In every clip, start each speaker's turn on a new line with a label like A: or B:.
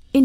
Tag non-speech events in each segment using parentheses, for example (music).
A: verscheen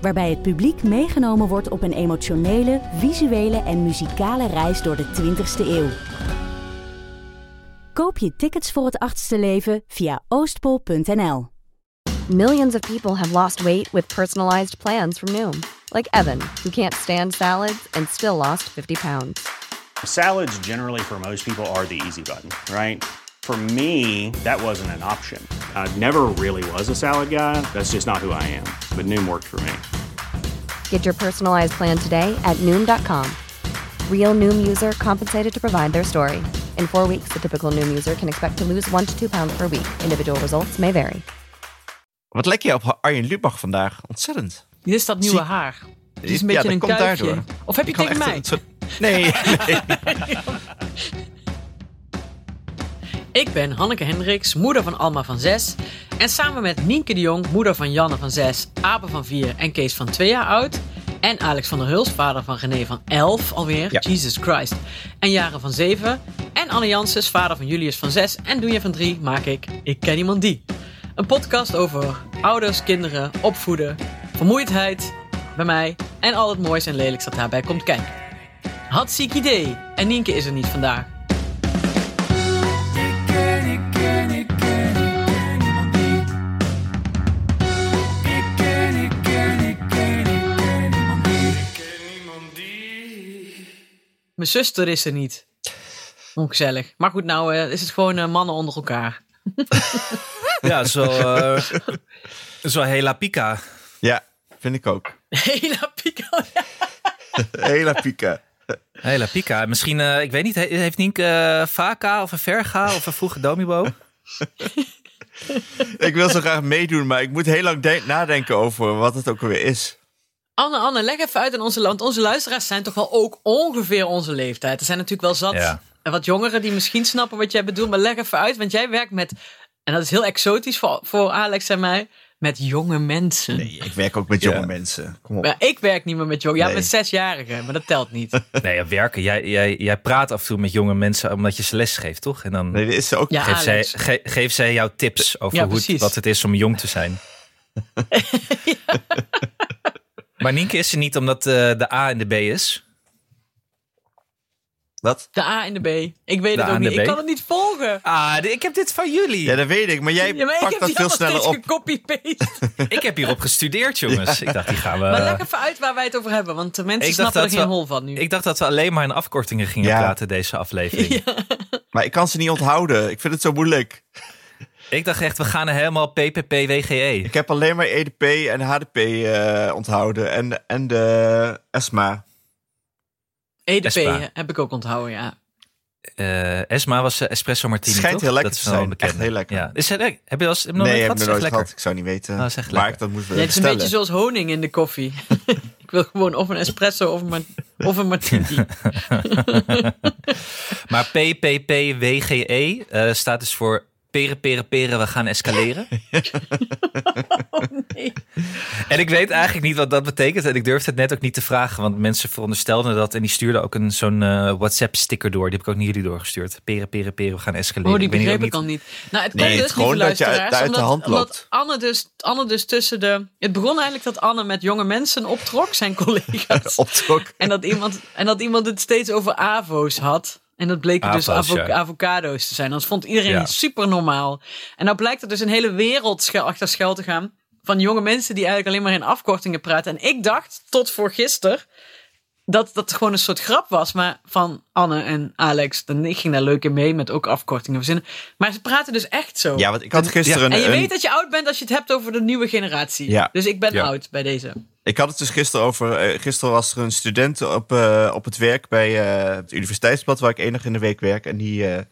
A: Waarbij het publiek meegenomen wordt op een emotionele, visuele en muzikale reis door de 20ste eeuw. Koop je tickets voor het achtste leven via oostpol.nl.
B: Millions of people have lost weight with personalized plans from Noom, like Evan, who can't stand salads and still lost 50 pounds.
C: Salads, generally, for most people, are the easy button, right? For me, that wasn't an option. I never really was a salad guy. That's just not who I am. But Noom worked for me.
B: Get your personalized plan today at Noom.com. Real Noom user compensated to provide their story. In four weeks, the typical Noom user can expect to lose one to two pounds per week. Individual results may vary.
D: Wat lijkt je op Arjen Lubach vandaag? Ontzettend.
E: Dit is dat nieuwe
D: Zie-
E: haar. Het
D: Ja,
E: is een beetje
D: dat
E: een
D: komt
E: kuifje.
D: daardoor.
E: Of heb je
D: Ik
E: het
D: kan echt
E: tegen mij?
D: een soort- Nee, nee.
E: (laughs) Ik ben Hanneke Hendricks, moeder van Alma van 6. En samen met Nienke de Jong, moeder van Janne van 6, Abe van 4 en Kees van 2 jaar oud. En Alex van der Huls, vader van René van 11 alweer,
D: Ja.
E: Jesus Christ. En Jaren van 7. En Anne Janssens, vader van Julius van 6 en Doenje van 3, maak ik Ik Ken Iemand Die. Een podcast over ouders, kinderen, opvoeden, vermoeidheid bij mij en al het moois en lelijks dat daarbij komt kijken. Had ziek idee. En Nienke is er niet vandaag. Mijn zuster is er niet. Ongezellig. Maar goed, nou eh, is het gewoon eh, mannen onder elkaar. (laughs)
F: Ja, het is wel, eh, het is wel Hela Pika.
D: ja, vind ik ook.
E: Hela pico. Ja.
D: Hela pieke.
F: Hela Pika. Misschien, eh, ik weet niet, he- heeft Nienke eh, Vaka of een Verga of een vroege Domibo?
D: Ik wil zo graag meedoen, maar ik moet heel lang de- nadenken over wat het ook weer is.
E: Anne, Anne, leg even uit in onze land. Onze luisteraars zijn toch wel ook ongeveer onze leeftijd. Er zijn natuurlijk wel zat
F: Ja.
E: en wat jongeren die misschien snappen wat jij bedoelt. Maar leg even uit, want jij werkt met, en dat is heel exotisch voor, voor Alex en mij, met jonge mensen.
D: Ik werk ook met jonge mensen. Kom op.
E: Maar ik werk niet meer met jongen. Ja,
D: Nee.
E: met zesjarigen, maar dat telt niet.
F: Nee, ja, werken. Jij, jij, jij praat af en toe met jonge mensen omdat je ze les geeft, toch? En dan
D: Nee, dit is ook.
E: Ja,
F: geeft, zij,
E: Alex.
F: ge- geeft zij jou tips over
E: Ja,
F: hoe, het-
E: precies.
F: wat het is om jong te (laughs) zijn. Maar Nienke is er niet omdat eh, de A en de B is.
D: Wat?
E: De A en de B. Ik weet het
F: De A
E: ook
F: en de
E: niet. Ik
F: B.
E: kan het niet volgen.
F: Ah, de- ik heb dit van jullie.
D: Ja, dat weet ik, maar jij
E: Ja, maar ik
D: pakt
E: heb
D: dat
E: die
D: veel
E: allemaal
D: sneller
E: steeds
D: op.
E: gecopy-paste.
F: Ik heb hierop (laughs) gestudeerd, jongens. Ik dacht, die gaan we...
E: Maar leg even uit waar wij het over hebben, want de mensen
F: Eh, Ik dacht
E: snappen er
F: dat
E: geen
F: we-
E: hol van nu.
F: Ik dacht dat we alleen maar in afkortingen gingen
D: Ja.
F: praten deze
E: (laughs)
F: aflevering.
D: Maar ik kan ze niet onthouden. Ik vind het zo moeilijk.
F: Ik dacht echt, we gaan er helemaal PPP, WGE.
D: Ik heb alleen maar EDP en HDP eh, onthouden. En, en de E ESMA.
E: Nou, EDP
F: Espa.
E: E heb ik ook onthouden, ja.
F: Eh, Esma was eh, Espresso Martini,
D: Schijnt
F: toch?
D: heel lekker
F: dat is
D: te
F: wel
D: zijn.
F: een bekende.
D: Echt heel lekker.
F: Ja. Is het lekker? Heb je wel eens heb je nog
D: nee,
F: nooit
D: heb
F: gehad?
D: ik nog nooit
F: Is echt lekker.
D: gehad. Ik zou niet weten.
E: Nou,
F: Ah, is echt
D: maar
F: lekker.
D: dat moesten
E: Ja,
D: we
E: het is een beetje
D: bestellen.
E: zoals honing in de koffie. (laughs) ik wil gewoon of een espresso of, een ma- of een
F: (laughs)
E: martini.
F: Maar PPPWGE eh staat dus voor peren, peren, peren, we gaan
D: (laughs)
F: escaleren.
E: nee.
F: En ik weet eigenlijk niet wat dat betekent. En ik durfde het net ook niet te vragen, want mensen veronderstelden dat. En die stuurden ook een, zo'n eh, WhatsApp-sticker door. Die heb ik ook naar jullie doorgestuurd. Peren, peren, peren, we gaan escaleren.
E: Oh, die
F: weet niet
E: begreep
F: ook
E: ik al niet. Nou, het komt
D: Nee, het
E: dus,
D: is gewoon
E: lieve
D: dat je uit-
E: luisteraars,
D: uit de
E: omdat,
D: hand
E: omdat
D: loopt.
E: Anne dus, Anne dus tussen de... Het begon eigenlijk dat Anne met jonge mensen optrok, zijn (laughs) collega's.
D: (laughs) Optrok.
E: En dat, iemand, en dat iemand het steeds over AVO's had. En dat bleken dus
F: Avo's,
E: avo-
F: ja.
E: avocado's te zijn. Dat vond iedereen
F: Ja.
E: super normaal. En nou blijkt er dus een hele wereld schuil- achter schuil te gaan. Van jonge mensen die eigenlijk alleen maar in afkortingen praten. En ik dacht, tot voor gisteren, dat dat gewoon een soort grap was. Maar van Anne en Alex. En ik ging daar leuk in mee met ook afkortingen verzinnen. Maar ze praten dus echt zo.
D: Ja, want ik had gisteren
E: en je
D: een,
E: weet dat je oud bent als je het hebt over de nieuwe generatie.
D: Ja.
E: Dus ik ben
F: Ja.
E: oud bij deze.
D: Ik had het dus gisteren over. eh, gisteren was er een student op, eh, op het werk bij eh, het Universiteitsblad, waar ik enig in de week werk. En die, eh,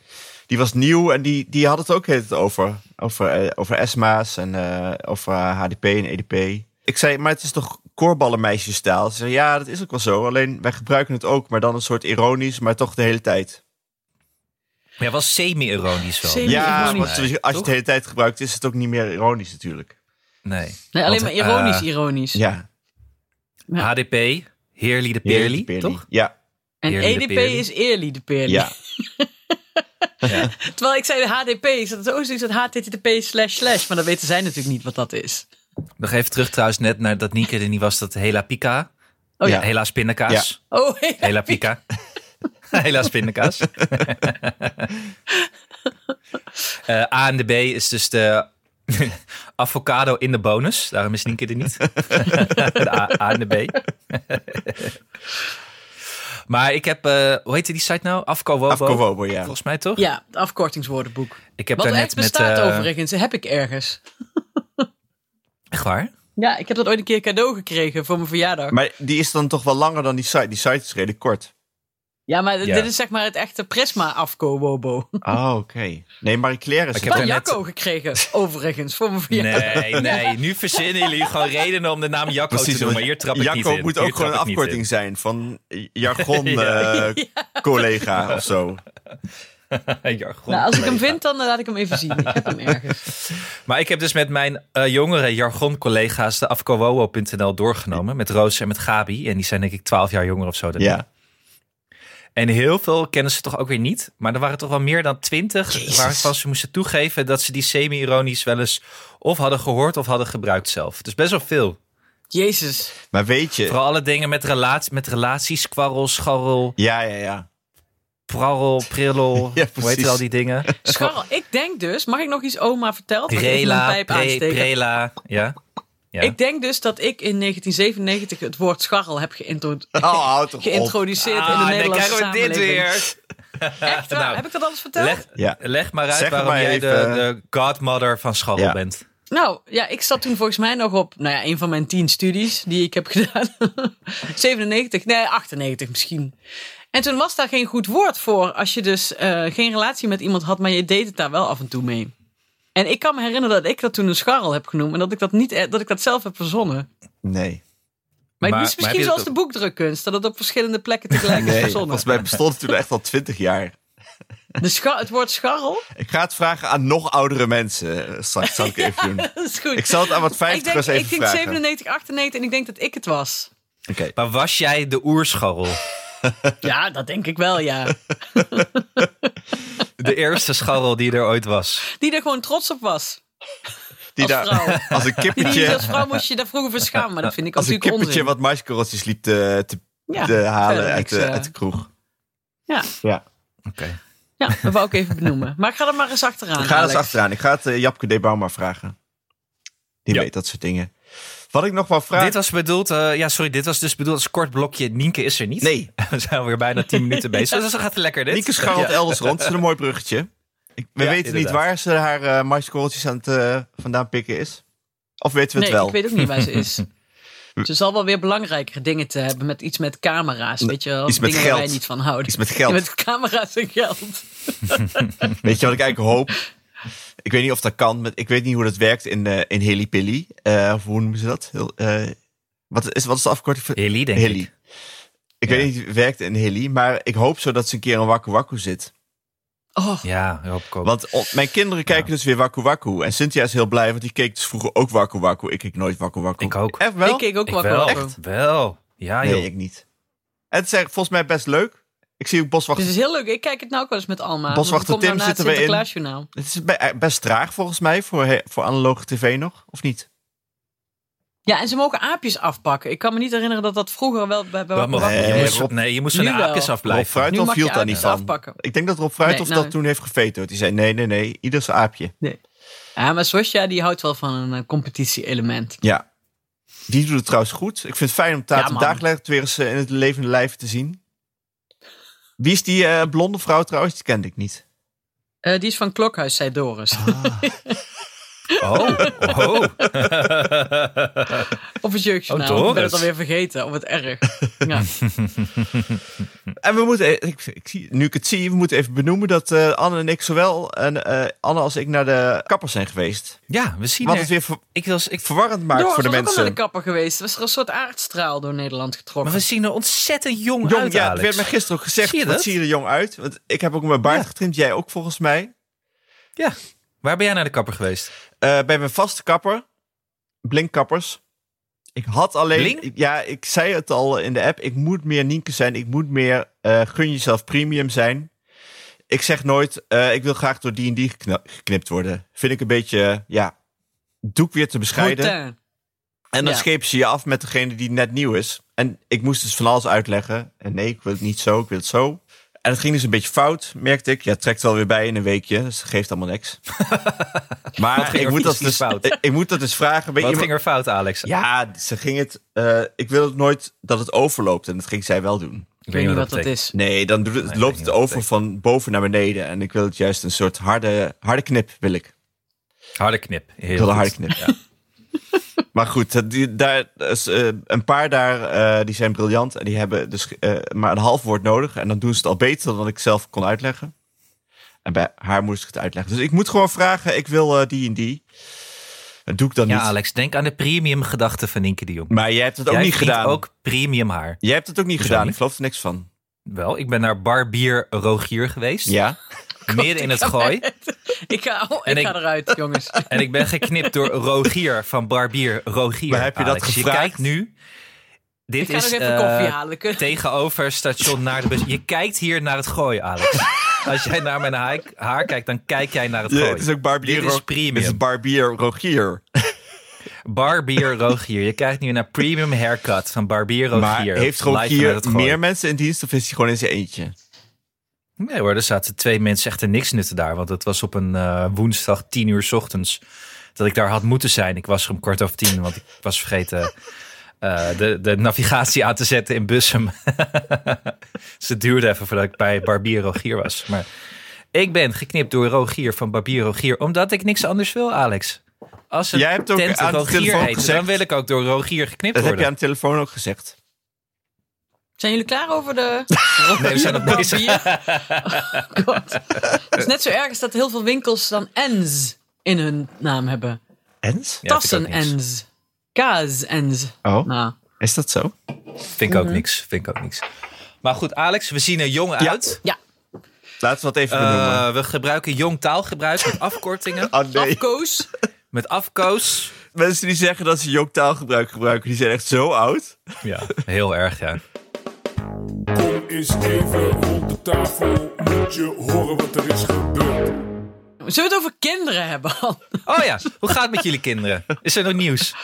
D: die was nieuw en die, die had het ook het over. eh, Over, eh, over ESMA's en eh, over HDP en EDP. E Ik zei, maar het is toch koorballenmeisjesstaal. Ze zeggen, ja, dat is ook wel zo. Alleen wij gebruiken het ook, maar dan een soort ironisch, maar toch de hele tijd.
F: Ja, was semi-ironisch wel.
E: Semi-
D: Ja,
E: ironisch,
D: want als je het
E: toch?
D: de hele tijd gebruikt, is het ook niet meer ironisch natuurlijk.
F: Nee.
E: Nee, alleen maar
F: Want,
E: ironisch,
F: eh,
E: ironisch.
D: Ja.
E: Ja.
F: HDP, Heerly de Peerly, toch?
D: Ja,
E: en
F: Eerly de
E: EDP
F: Peerly.
E: is Eerly de Peerly.
D: ja.
E: (laughs) Terwijl ik zei de HDP, is dat ook zoiets dat HTTP slash slash. Maar dat weten zij natuurlijk niet wat dat is.
F: Nog even terug trouwens net naar dat Nieke er niet was, dat Hela Pika.
E: Oh ja.
D: Ja.
F: Helaas pindakaas.
E: Oh, (laughs) ja.
F: Hela Pika. Helaas pindakaas. Eh, A en de B is dus de (laughs) avocado in de bonus. Daarom is Nienke er niet. (laughs) de A, A en de B. maar ik heb, eh, hoe heette die site nou? Afko Wobo.
D: Afko Wobo, ja.
F: Volgens mij toch?
E: ja, het afkortingswoordenboek.
F: Ik heb
E: Wat
F: daar net
E: echt bestaat
F: met... eh,
E: overigens, heb ik ergens.
F: Echt waar?
E: Ja, ik heb dat ooit een keer cadeau gekregen voor mijn verjaardag.
D: Maar die is dan toch wel langer dan die site. Die site is redelijk kort.
E: ja, maar d-
F: Ja.
E: dit is zeg maar het echte Prisma-afko-wobo.
D: Oh, oké. Nee, Marie Claire is
F: Ik
D: het.
F: heb
E: Van
F: daar net-
E: Jacco gekregen, overigens, voor mijn verjaardag. (laughs)
F: Nee, nee. Nu verzinnen jullie gewoon redenen om de naam Jacco te doen. Maar hier trap ik
D: Jacco
F: niet in.
D: moet
F: Hier
D: ook gewoon een
F: trap ik niet in.
D: afkorting zijn
F: (laughs)
D: van jargon-collega of zo.
F: (laughs) Jargon.
E: Nou, als ik hem vind, dan eh, laat ik hem even zien. Ik heb hem ergens.
F: Maar ik heb dus met mijn eh, jongere jargon-collega's de afkowowo.nl doorgenomen. Met Roos en met Gabi. En die zijn denk ik 12 jaar jonger of zo. dan ik.
D: Ja.
F: En heel veel kennen ze toch ook weer niet. Maar er waren toch wel meer dan 20 waarvan ze moesten toegeven dat ze die semi-ironisch wel eens of hadden gehoord of hadden gebruikt zelf. Dus best wel veel.
E: Jezus.
D: Maar weet je...
F: Vooral alle dingen met, relatie, met relaties, kwarrel, scharrel,
D: Ja, ja, ja.
F: prarrel,
D: (laughs)
F: prillel.
D: Ja,
F: hoe heet
D: precies.
F: al die dingen?
D: (laughs)
E: Scharrel, ik denk dus, mag ik nog iets oma verteld? Mag ik even mijn
F: Rela,
E: pijp
F: pre,
E: aansteken?
F: prela. Ja. ja.
E: Ik denk dus dat ik in 1997 het woord scharrel heb geïntro-
D: Oh, houd toch op.
E: geïntroduceerd in de
F: dan
E: Nederlandse
F: krijgen we dit
E: samenleving.
F: weer.
E: Echt waar?
F: (laughs) Nou,
E: heb ik dat alles verteld?
F: Leg,
D: Ja.
F: leg maar uit
D: Zeg
F: waarom
D: maar
F: jij
D: even- eh,
F: de, de godmother van Scharrel
D: Ja.
F: bent.
E: Nou, ja, ik zat toen volgens mij nog op, nou ja, een van mijn tien studies die ik heb (laughs) gedaan. 97, nee, 98 misschien. En toen was daar geen goed woord voor als je dus eh, geen relatie met iemand had, maar je deed het daar wel af en toe mee. En ik kan me herinneren dat ik dat toen een scharrel heb genoemd en dat ik dat, niet, eh, dat, ik dat zelf heb verzonnen.
D: Nee.
E: Maar,
F: Maar-
E: het is
F: maar heb
E: misschien
F: je dat
E: zoals de boekdrukkunst, dat het op verschillende
D: (laughs)
E: plekken tegelijk is
D: Nee,
E: verzonnen.
D: volgens mij bestond het toen echt al twintig jaar.
E: De scha- het woord scharrel? (laughs)
D: Ik ga het vragen aan nog oudere mensen. eh, Straks zal ik even
F: (laughs)
D: doen.
E: Dat is goed.
D: Ik zal het aan wat
E: Ik denk,
D: 50 even
E: ik denk
D: vragen.
E: 97, 98 en ik denk dat ik het was.
D: Oké.
F: Maar was jij
D: (laughs)
F: de oerscharrel?
E: Ja, dat denk ik wel, ja.
F: De eerste scharrel die er ooit was.
E: Die er gewoon trots op was.
D: Die
F: (laughs)
E: Als vrouw.
D: daar als een
E: Die
D: kippetje,
E: als vrouw moest je daar vroeger voor schamen. Maar dat vind ik
D: als een
E: natuurlijk
D: kippetje
E: onzin.
D: wat maiskorreltjes liep te, te,
E: Ja,
D: te halen
E: verder
D: uit
E: niks,
D: de,
E: eh.
D: uit de kroeg.
E: Ja,
D: Ja.
F: Oké.
E: ja, dat wou ik even benoemen. Maar ik ga er maar eens achteraan.
D: Ik ga dat
E: Alex.
D: eens achteraan. Ik ga het eh, Japke de Bauma vragen. Die
F: Ja.
D: weet dat soort dingen. Wat ik nog wel vraag...
F: Dit was bedoeld, eh, ja sorry, dit was dus bedoeld als kort blokje. Nienke is er niet.
D: Nee,
F: (laughs) We zijn weer bijna 10 minuten bezig. Dus dat gaat lekker dit.
D: Nieke scharrelt
F: Ja.
D: elders rond. Dat is een mooi bruggetje. Ik, we
F: Ja,
D: weten niet
F: inderdaad.
D: waar ze haar eh maiskorreltjes aan het eh, vandaan pikken is. Of weten we het
E: Nee,
D: wel?
E: ik weet ook niet waar ze
D: (laughs)
E: is. Ze zal wel weer belangrijkere dingen te hebben met iets met camera's. Weet je wel,
D: iets met
E: dingen waar wij
D: geld.
E: niet van houden.
D: Iets met geld.
E: (laughs) Met camera's en geld.
D: Weet je wat ik eigenlijk hoop? Ik weet niet of dat kan. Maar ik weet niet hoe dat werkt in, eh in Helipilly. Eh, of hoe noemen ze dat? Heel, eh, wat, is, wat is de afkorting? van-
F: Heli, denk
D: Heli.
F: ik.
D: Ik, weet niet hoe het werkt in Heli. Maar ik hoop zo dat ze een keer een Waku Waku zit.
E: Oh,
F: Ja, Rob Koop.
D: Want op- mijn kinderen kijken dus weer Waku Waku. En Cynthia is heel blij, want die keek dus vroeger ook Waku Waku. Ik keek nooit Waku Waku.
F: Ik ook.
D: Echt wel?
E: ik keek ook
F: Ik
E: wel.
F: wel.
E: Echt?
F: Wel. Ja joh.
D: nee, ik niet. En het is eigenlijk volgens mij best leuk. Ik zie ook Boswachter.
E: Dus het is heel leuk. Ik kijk het nou ook wel eens met Alma.
D: Boswachter
E: Want het
D: Tim
E: komt nou na het
D: zitten we in.
E: Sinterklaasjournaal.
D: Het is be- eh, best traag volgens mij voor, he- voor analoge tv nog, of niet?
E: Ja, en ze mogen aapjes afpakken. Ik kan me niet herinneren dat dat vroeger wel bij, bij
F: Dat
E: Wakker
F: mag-
E: Wakker
F: je
D: Nee,
F: moest-
D: Rob-
F: nee, je moest van
E: Nu
F: de
E: wel.
F: aapjes
D: Rob
F: afblijven.
E: Nu
D: Fruithof
E: mag je
D: hield daar niet
E: aapjes
D: van.
E: afpakken.
D: Ik denk dat Rob Fruithof
E: Nee, nou-
D: dat toen heeft geveto. Die zei nee, nee, nee, ieder zijn aapje.
E: Ja, maar Sosja die houdt wel van een eh, competitie-element.
D: Ja. Die doet het trouwens goed. Ik vind het fijn om
E: Ja,
D: Tatum
E: man.
D: dagelijks weer eens eh, in het levende lijf te zien. Wie is die eh, blonde vrouw trouwens? Die kende ik niet.
F: Ah.
E: Eh, die is van Klokhuis, zei Doris.
F: Oh, oh.
E: (laughs) Of het jeugdjournaal.
F: Oh,
E: ik ben het
F: Doris.
E: alweer vergeten. Of het
F: (laughs)
E: erg. Ja.
D: En we moeten, eh, ik, ik zie, nu ik het zie, we moeten even benoemen dat eh, Anne en ik zowel, en, eh, Anne als ik, naar de kapper zijn geweest.
F: Ja, we zien
D: Wat
F: er-
D: het weer ver-
F: ik wil, ik,
D: verwarrend maakt
E: Doris
D: voor de
E: was ook al naar de
D: mensen.
E: kapper geweest. Was er een soort aardstraal door Nederland getrokken.
F: Maar we zien er ontzettend jong,
D: Jong,
F: uit,
D: ja, het
F: Alex.
D: werd mij gisteren ook gezegd,
F: Zie je
D: wat
F: dat?
D: zie je er jong uit? Want ik heb ook mijn baard
F: Ja.
D: getrimd, jij ook volgens mij.
F: Ja. Waar ben jij naar de kapper geweest?
D: Eh, bij mijn vaste kapper, Blinkkappers. Ik had alleen,
F: Blink?
D: ik- ja, ik zei het al in de app, ik moet meer Nienke zijn, ik moet meer eh, gun jezelf premium zijn. Ik zeg nooit, eh, ik wil graag door die en die gekna- geknipt worden. Vind ik een beetje, eh, ja, doe ik weer te bescheiden.
E: Routine.
D: En dan
E: Ja.
D: schepen ze je af met degene die net nieuw is. En ik moest dus van alles uitleggen. En nee, ik wil het niet zo, ik wil het zo. En het ging dus een beetje fout, merkte ik. Ja, het trekt wel weer bij in een weekje, dus het geeft allemaal
F: (laughs)
D: niks. maar
F: ging
D: ik
F: er
D: moet, dat
F: fysisch
D: dus,
F: fout?
D: ik, ik moet dat dus vragen. Bij
F: Wat
D: iemand-
F: ging er fout, Alex?
D: Ja, ze ging het... eh, ik wil het nooit dat het overloopt. En dat ging zij wel doen.
E: Ik weet niet wat dat
F: betekent.
E: is.
D: Nee, dan doet het,
F: Nee, ik
D: loopt het
F: weet niet wat
D: over
F: dat
D: van boven naar beneden. En ik wil het juist een soort harde, harde knip, wil ik.
F: Harde knip. Heel
D: Ik wil een harde
F: goed.
D: knip. (laughs) maar goed, dat- die, daar, is, eh, een paar daar eh, die zijn briljant. En die hebben dus eh, maar een half woord nodig. En dan doen ze het al beter dan ik zelf kon uitleggen. En bij haar moest ik het uitleggen. Dus ik moet gewoon vragen, ik wil eh, die en die. Dat doe ik dan
F: Ja,
D: niet.
F: Alex, denk aan de premium gedachte van Nienke de Jong.
D: Maar jij hebt het ook
F: Jij
D: niet
F: verdient
D: gedaan.
F: ook premium haar.
D: Jij hebt het ook niet
F: Hoezo
D: gedaan.
F: niet?
D: Ik geloof er niks van.
F: Wel, ik ben naar Barbier Rogier geweest.
D: Ja.
F: midden in het gooi.
E: (laughs) Ik ga, oh,
F: En
E: ik
F: ik-
E: ga eruit,
F: (laughs)
E: jongens.
F: En ik ben geknipt door Rogier van Barbier Rogier.
D: Maar heb je dat
F: Alex.
D: gevraagd?
F: Je kijkt nu. Dit
E: Ik ga
F: is
E: nog even
F: eh,
E: koffie halen. Kun-
F: tegenover station naar de bus. Je kijkt hier naar het gooi,
E: (laughs)
F: Alex. Als jij naar mijn haar, haar kijkt, dan kijk jij naar het gooi.
D: het is ook barbier.
F: Dit is
D: Ro- Het is
F: premium.
D: barbier Rogier.
F: Barbier Rogier. Je kijkt nu naar premium haircut van Barbier Rogier.
D: Maar heeft
F: Live vanuit
D: Rogier
F: het Gooi.
D: meer mensen in dienst of is hij gewoon in zijn eentje?
F: Nee hoor, er zaten twee mensen echt te niks nutten daar. Want het was op een eh, woensdag tien uur 's ochtends dat ik daar had moeten zijn. Ik was er om kwart over tien, want ik was vergeten eh, de, de navigatie aan te zetten in Bussum. (laughs) dus het duurde even voordat ik bij Barbier Rogier was. Maar ik ben geknipt door Rogier van Barbier Rogier, omdat ik niks anders wil, Alex. Als een
D: Jij hebt ook
F: tent
D: aan de
F: Rogier
D: telefoon
F: heet,
D: gezegd-
F: dan wil ik ook door Rogier geknipt
D: Dat heb
F: worden.
D: je aan de telefoon ook gezegd.
E: Zijn jullie klaar over de...
F: (laughs) Nee, we zijn nog bezig.
E: Oh, God. Het is net zo erg als dat heel veel winkels dan ens in hun naam hebben.
D: Ens?
F: Ja, vind ik ook niks.
E: Tassen-ens. Kaas-ens.
D: Oh,
E: Nou,
D: is dat zo?
F: Vind ik ook niks. Vind ik ook niks. Maar goed, Alex, we zien er jong
D: Ja.
F: uit.
E: ja.
D: Laten we dat even benoemen.
F: Eh, we gebruiken jong taalgebruik met afkortingen,
D: Ah nee,
E: Afkoos.
F: met afkoos.
D: mensen die zeggen dat ze jong taalgebruik gebruiken, die zijn echt zo oud.
F: Ja, heel erg, ja.
G: Kom eens even rond de tafel, moet je horen wat er is gebeurd.
E: Zullen we het over kinderen hebben, Han?
F: Oh ja, hoe gaat het met jullie kinderen? Is er nog nieuws?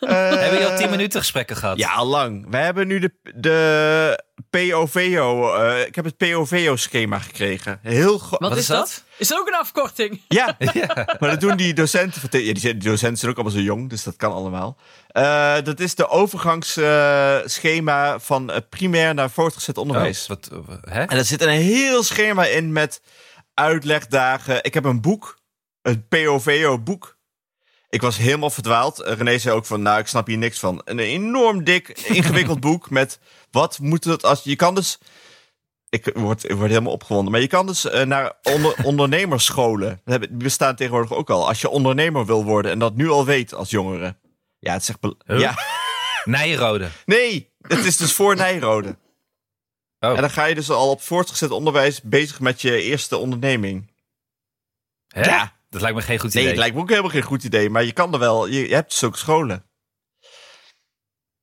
F: Hebben jullie al tien minuten gesprekken gehad?
D: Eh, Ja, al lang. We hebben nu de, de POVO, eh, ik heb het POVO-schema gekregen. Heel go-
E: Wat,
F: Wat
E: is,
F: is
E: dat?
F: dat?
E: Is dat ook een afkorting?
D: (laughs) Ja, maar dat doen die docenten. van te- Ja, die, zijn- die docenten zijn ook allemaal zo jong, dus dat kan allemaal. Eh, dat is de overgangsschema van eh, primair naar voortgezet
F: Oh,
D: onderwijs.
F: wat, eh, hè?
D: En er zit een heel schema in met uitlegdagen. Ik heb een boek, een POVO-boek. Ik was helemaal verdwaald. Eh, René zei ook van, nou, ik snap hier niks van. Een enorm dik, ingewikkeld boek met wat moet het als... Je kan dus... Ik word, ik word helemaal opgewonden. Maar je kan dus eh, naar onder, ondernemersscholen. Dat hebben- Die bestaan tegenwoordig ook al. Als je ondernemer wil worden en dat nu al weet als jongere. Ja, het zegt...
F: Huh?
D: Ja,
F: Nijrode.
D: nee, het is dus voor Nijrode.
F: Oh,
D: En dan ga je dus al op voortgezet onderwijs bezig met je eerste onderneming.
F: hè?
D: ja.
F: Dat lijkt me geen goed
D: Nee,
F: idee.
D: het lijkt me ook helemaal geen goed idee, maar je kan er wel. Je, je hebt zulke scholen.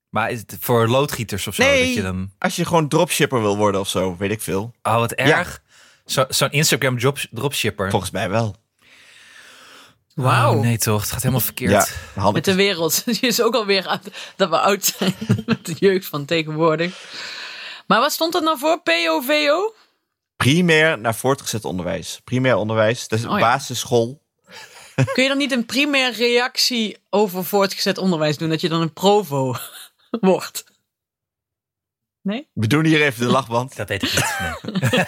F: Maar is het voor loodgieters of zo? Dat je dan...
D: als je gewoon dropshipper wil worden of zo, weet ik veel.
F: Oh, wat erg. Zo- Zo'n Instagram drop, dropshipper.
D: Volgens mij wel.
E: Wauw.
F: Oh, nee toch, het gaat helemaal verkeerd.
D: Ja, handig.
E: Met de wereld. (laughs) Je is ook alweer aan- dat we oud zijn (laughs) met de jeugd van tegenwoordig. Maar wat stond dat nou voor? POVO?
D: Primair naar voortgezet onderwijs. Primair onderwijs, dat is
E: Oh ja.
D: basisschool.
E: Kun je dan niet een primair reactie (laughs) over voortgezet onderwijs doen? Dat je dan een provo wordt? Nee?
D: We doen hier even de lachband.
F: Dat weet ik niet.
D: (laughs)
F: nee.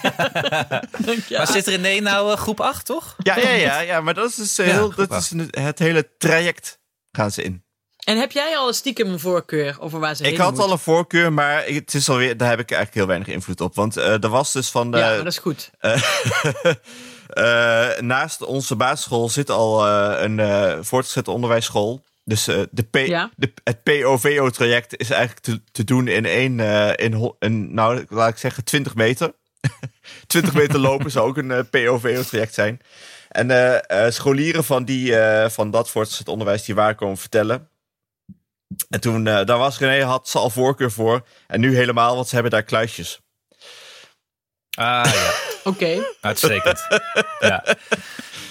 E: Dank je.
F: Maar zit René nou eh, groep 8, toch?
D: Ja, ja, ja, ja, maar dat is dus eh,
F: Ja,
D: heel,
F: goed
D: dat
F: wel.
D: is een- het hele traject gaan ze in.
E: En heb jij al stiekem een voorkeur over waar ze
D: Ik
E: heen
D: had
E: moet?
D: al een voorkeur, maar het is alweer, daar heb ik eigenlijk heel weinig invloed op. Want eh er was dus van de,
E: Ja, maar dat is goed.
D: Eh, naast onze basisschool zit al eh, een eh voortgezet onderwijsschool. Dus eh, de P-
E: Ja.
D: de, het POVO-traject is eigenlijk te, te doen in één, eh, in, ho- in, nou laat ik zeggen, 20 meter. (laughs) 20 meter lopen zou ook een eh, POVO-traject zijn. En eh, eh, scholieren van, die, eh, van dat voortgezet onderwijs die waar komen vertellen. En toen, eh, daar was René, had ze al voorkeur voor. En nu helemaal, want ze hebben daar kluisjes.
F: Ah ja,
E: Oké.
D: (laughs)
F: uitstekend. ja.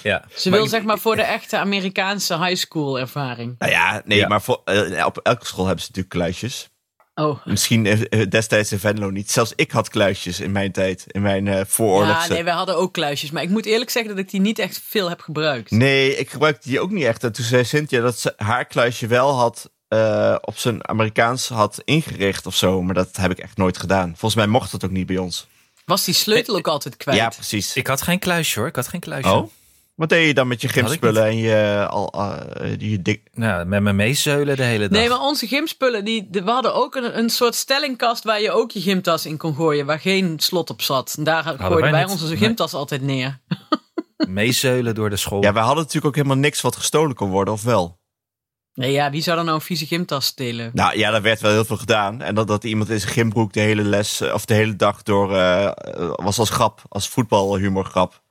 F: Ja.
E: Ze wil zeg maar voor de echte Amerikaanse high school ervaring.
D: Nou ja, nee,
F: Ja.
D: maar voor, eh, op elke school hebben ze natuurlijk kluisjes.
E: Oh.
D: Misschien eh, destijds in Venlo niet. Zelfs ik had kluisjes in mijn tijd, in mijn eh
E: Ja,
D: vooroorlogse...
E: nee, wij hadden ook kluisjes. Maar ik moet eerlijk zeggen dat ik die niet echt veel heb gebruikt.
D: Nee, ik gebruikte die ook niet echt. En toen zei Cynthia dat ze haar kluisje wel had, eh, op zijn Amerikaans had ingericht of zo. Maar dat heb ik echt nooit gedaan. Volgens mij mocht dat ook niet bij ons.
E: Was die sleutel ook altijd kwijt?
D: Ja, precies.
F: Ik had geen kluisje hoor, ik had geen kluisje.
D: Oh? Wat deed je dan met je
F: ik
D: gymspullen en je, al, eh, je dik...
F: Nou, met me meezeulen de hele dag.
E: Nee, maar onze gymspullen, die, de- we hadden ook een, een soort stellingkast waar je ook je gymtas in kon gooien, waar geen slot op zat. En daar gooiden
F: wij
E: wij
F: niet.
E: onze
F: Nee.
E: gymtas altijd neer.
F: Meezeulen door de school.
D: Ja, wij hadden natuurlijk ook helemaal niks wat gestolen kon worden, of wel?
E: Nee, ja, wie zou dan nou een vieze gymtas stelen?
D: Nou ja, daar werd wel heel veel gedaan. En dat, dat iemand in zijn gymbroek de hele les, eh, of de hele dag door, eh, eh, was als grap, als voetbalhumorgrap.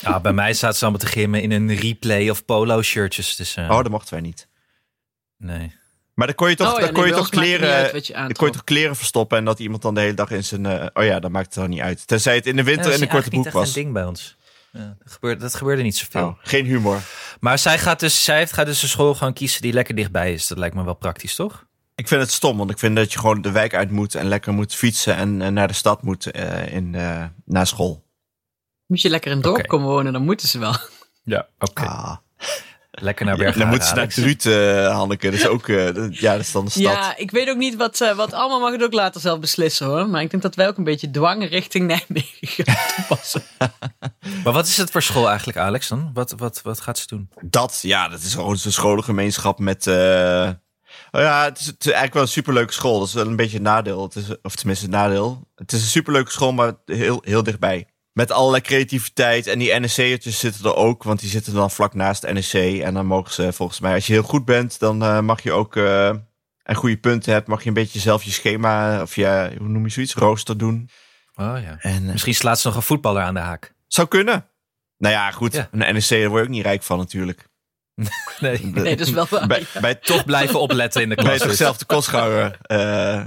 F: Ja, bij mij zaten ze allemaal te gimmen in een replay of polo shirtjes. Dus, eh,
D: Oh, dat mochten wij niet.
F: nee.
D: Maar dan kon je toch,
E: Oh ja,
D: dan kon
E: nee,
D: je
E: bij
D: toch
E: ons maakt het niet uit
D: kleren,
E: wat je
D: dan kon
E: aantrok.
D: je toch kleren verstoppen en dat iemand dan de hele dag in zijn, eh, oh ja, dat maakt het dan niet uit. Tenzij het in de
F: Ja,
D: winter
F: dat is
D: en een korte
F: eigenlijk niet
D: broek
F: echt
D: was.
F: een ding bij ons. Ja, dat, gebeurde, dat gebeurde niet zoveel.
D: Oh, geen humor.
F: Maar zij gaat, dus, zij heeft- gaat dus een school gewoon kiezen die lekker dichtbij is. Dat lijkt me wel praktisch, toch?
D: Ik vind het stom, want ik vind dat je gewoon de wijk uit moet en lekker moet fietsen en, en naar de stad moet eh, in, eh, na school.
E: Moet je lekker in een dorp
F: Oké.
E: komen wonen, dan moeten ze wel.
F: Ja, oké.
D: Ah.
F: Lekker naar Bergen.
D: Dan moeten ze naar Druut, eh, Hanneke. Dat is ook, eh, dat- ja, dat is dan de stad.
E: Ja, ik weet ook niet wat, eh, wat allemaal mag het ook later zelf beslissen hoor. Maar ik denk dat wij ook een beetje dwang richting (laughs) Nijmegen gaan toepassen.
F: Maar wat is het voor school eigenlijk, Alex? Dan? Wat, wat, wat gaat ze doen?
D: Dat, ja, dat is gewoon zo'n scholengemeenschap met... eh, oh ja, het is, het is eigenlijk wel een superleuke school. Dat is wel een beetje een nadeel. Het is, of tenminste een nadeel. Het is een superleuke school, maar heel, heel dichtbij. Met allerlei creativiteit. En die NEC'ertjes zitten er ook, want die zitten dan vlak naast NEC. En dan mogen ze volgens mij, als je heel goed bent, dan eh, mag je ook... eh, en goede punten hebt, mag je een beetje zelf je schema... of je, hoe noem je zoiets, rooster doen.
F: Oh ja.
D: En, eh,
F: Misschien slaat ze nog een voetballer aan de haak.
D: zou kunnen. Nou ja, goed.
F: Ja.
D: Een NEC, daar word je ook niet rijk van natuurlijk.
F: Nee.
E: Nee, dat is
D: (laughs)
E: wel waar.
D: Bij, bij
F: Toch blijven
E: (laughs)
F: opletten in de
D: Bij
F: klas. dus.
D: zichzelf de kostgouwer. Eh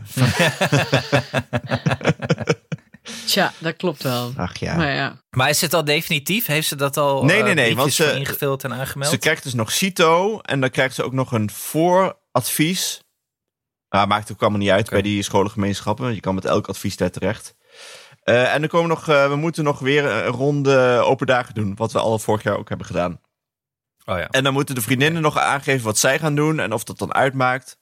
E: Tja, dat klopt wel.
D: ach ja.
E: Maar ja,
F: Maar is het al definitief? Heeft ze dat al
D: Nee, nee, nee,
F: eh, briefjes
D: want ze-
F: voor ingevuld en aangemeld?
D: Ze krijgt dus nog CITO en dan krijgt ze ook nog een vooradvies. Ah, maakt ook allemaal niet uit bij die scholengemeenschappen. want Je kan met elk advies daar terecht. Eh, en dan komen nog, eh, we moeten nog weer een ronde open dagen doen. Wat we al vorig jaar ook hebben gedaan.
F: Oh ja.
D: En dan moeten de vriendinnen nog aangeven wat zij gaan doen en of dat dan uitmaakt.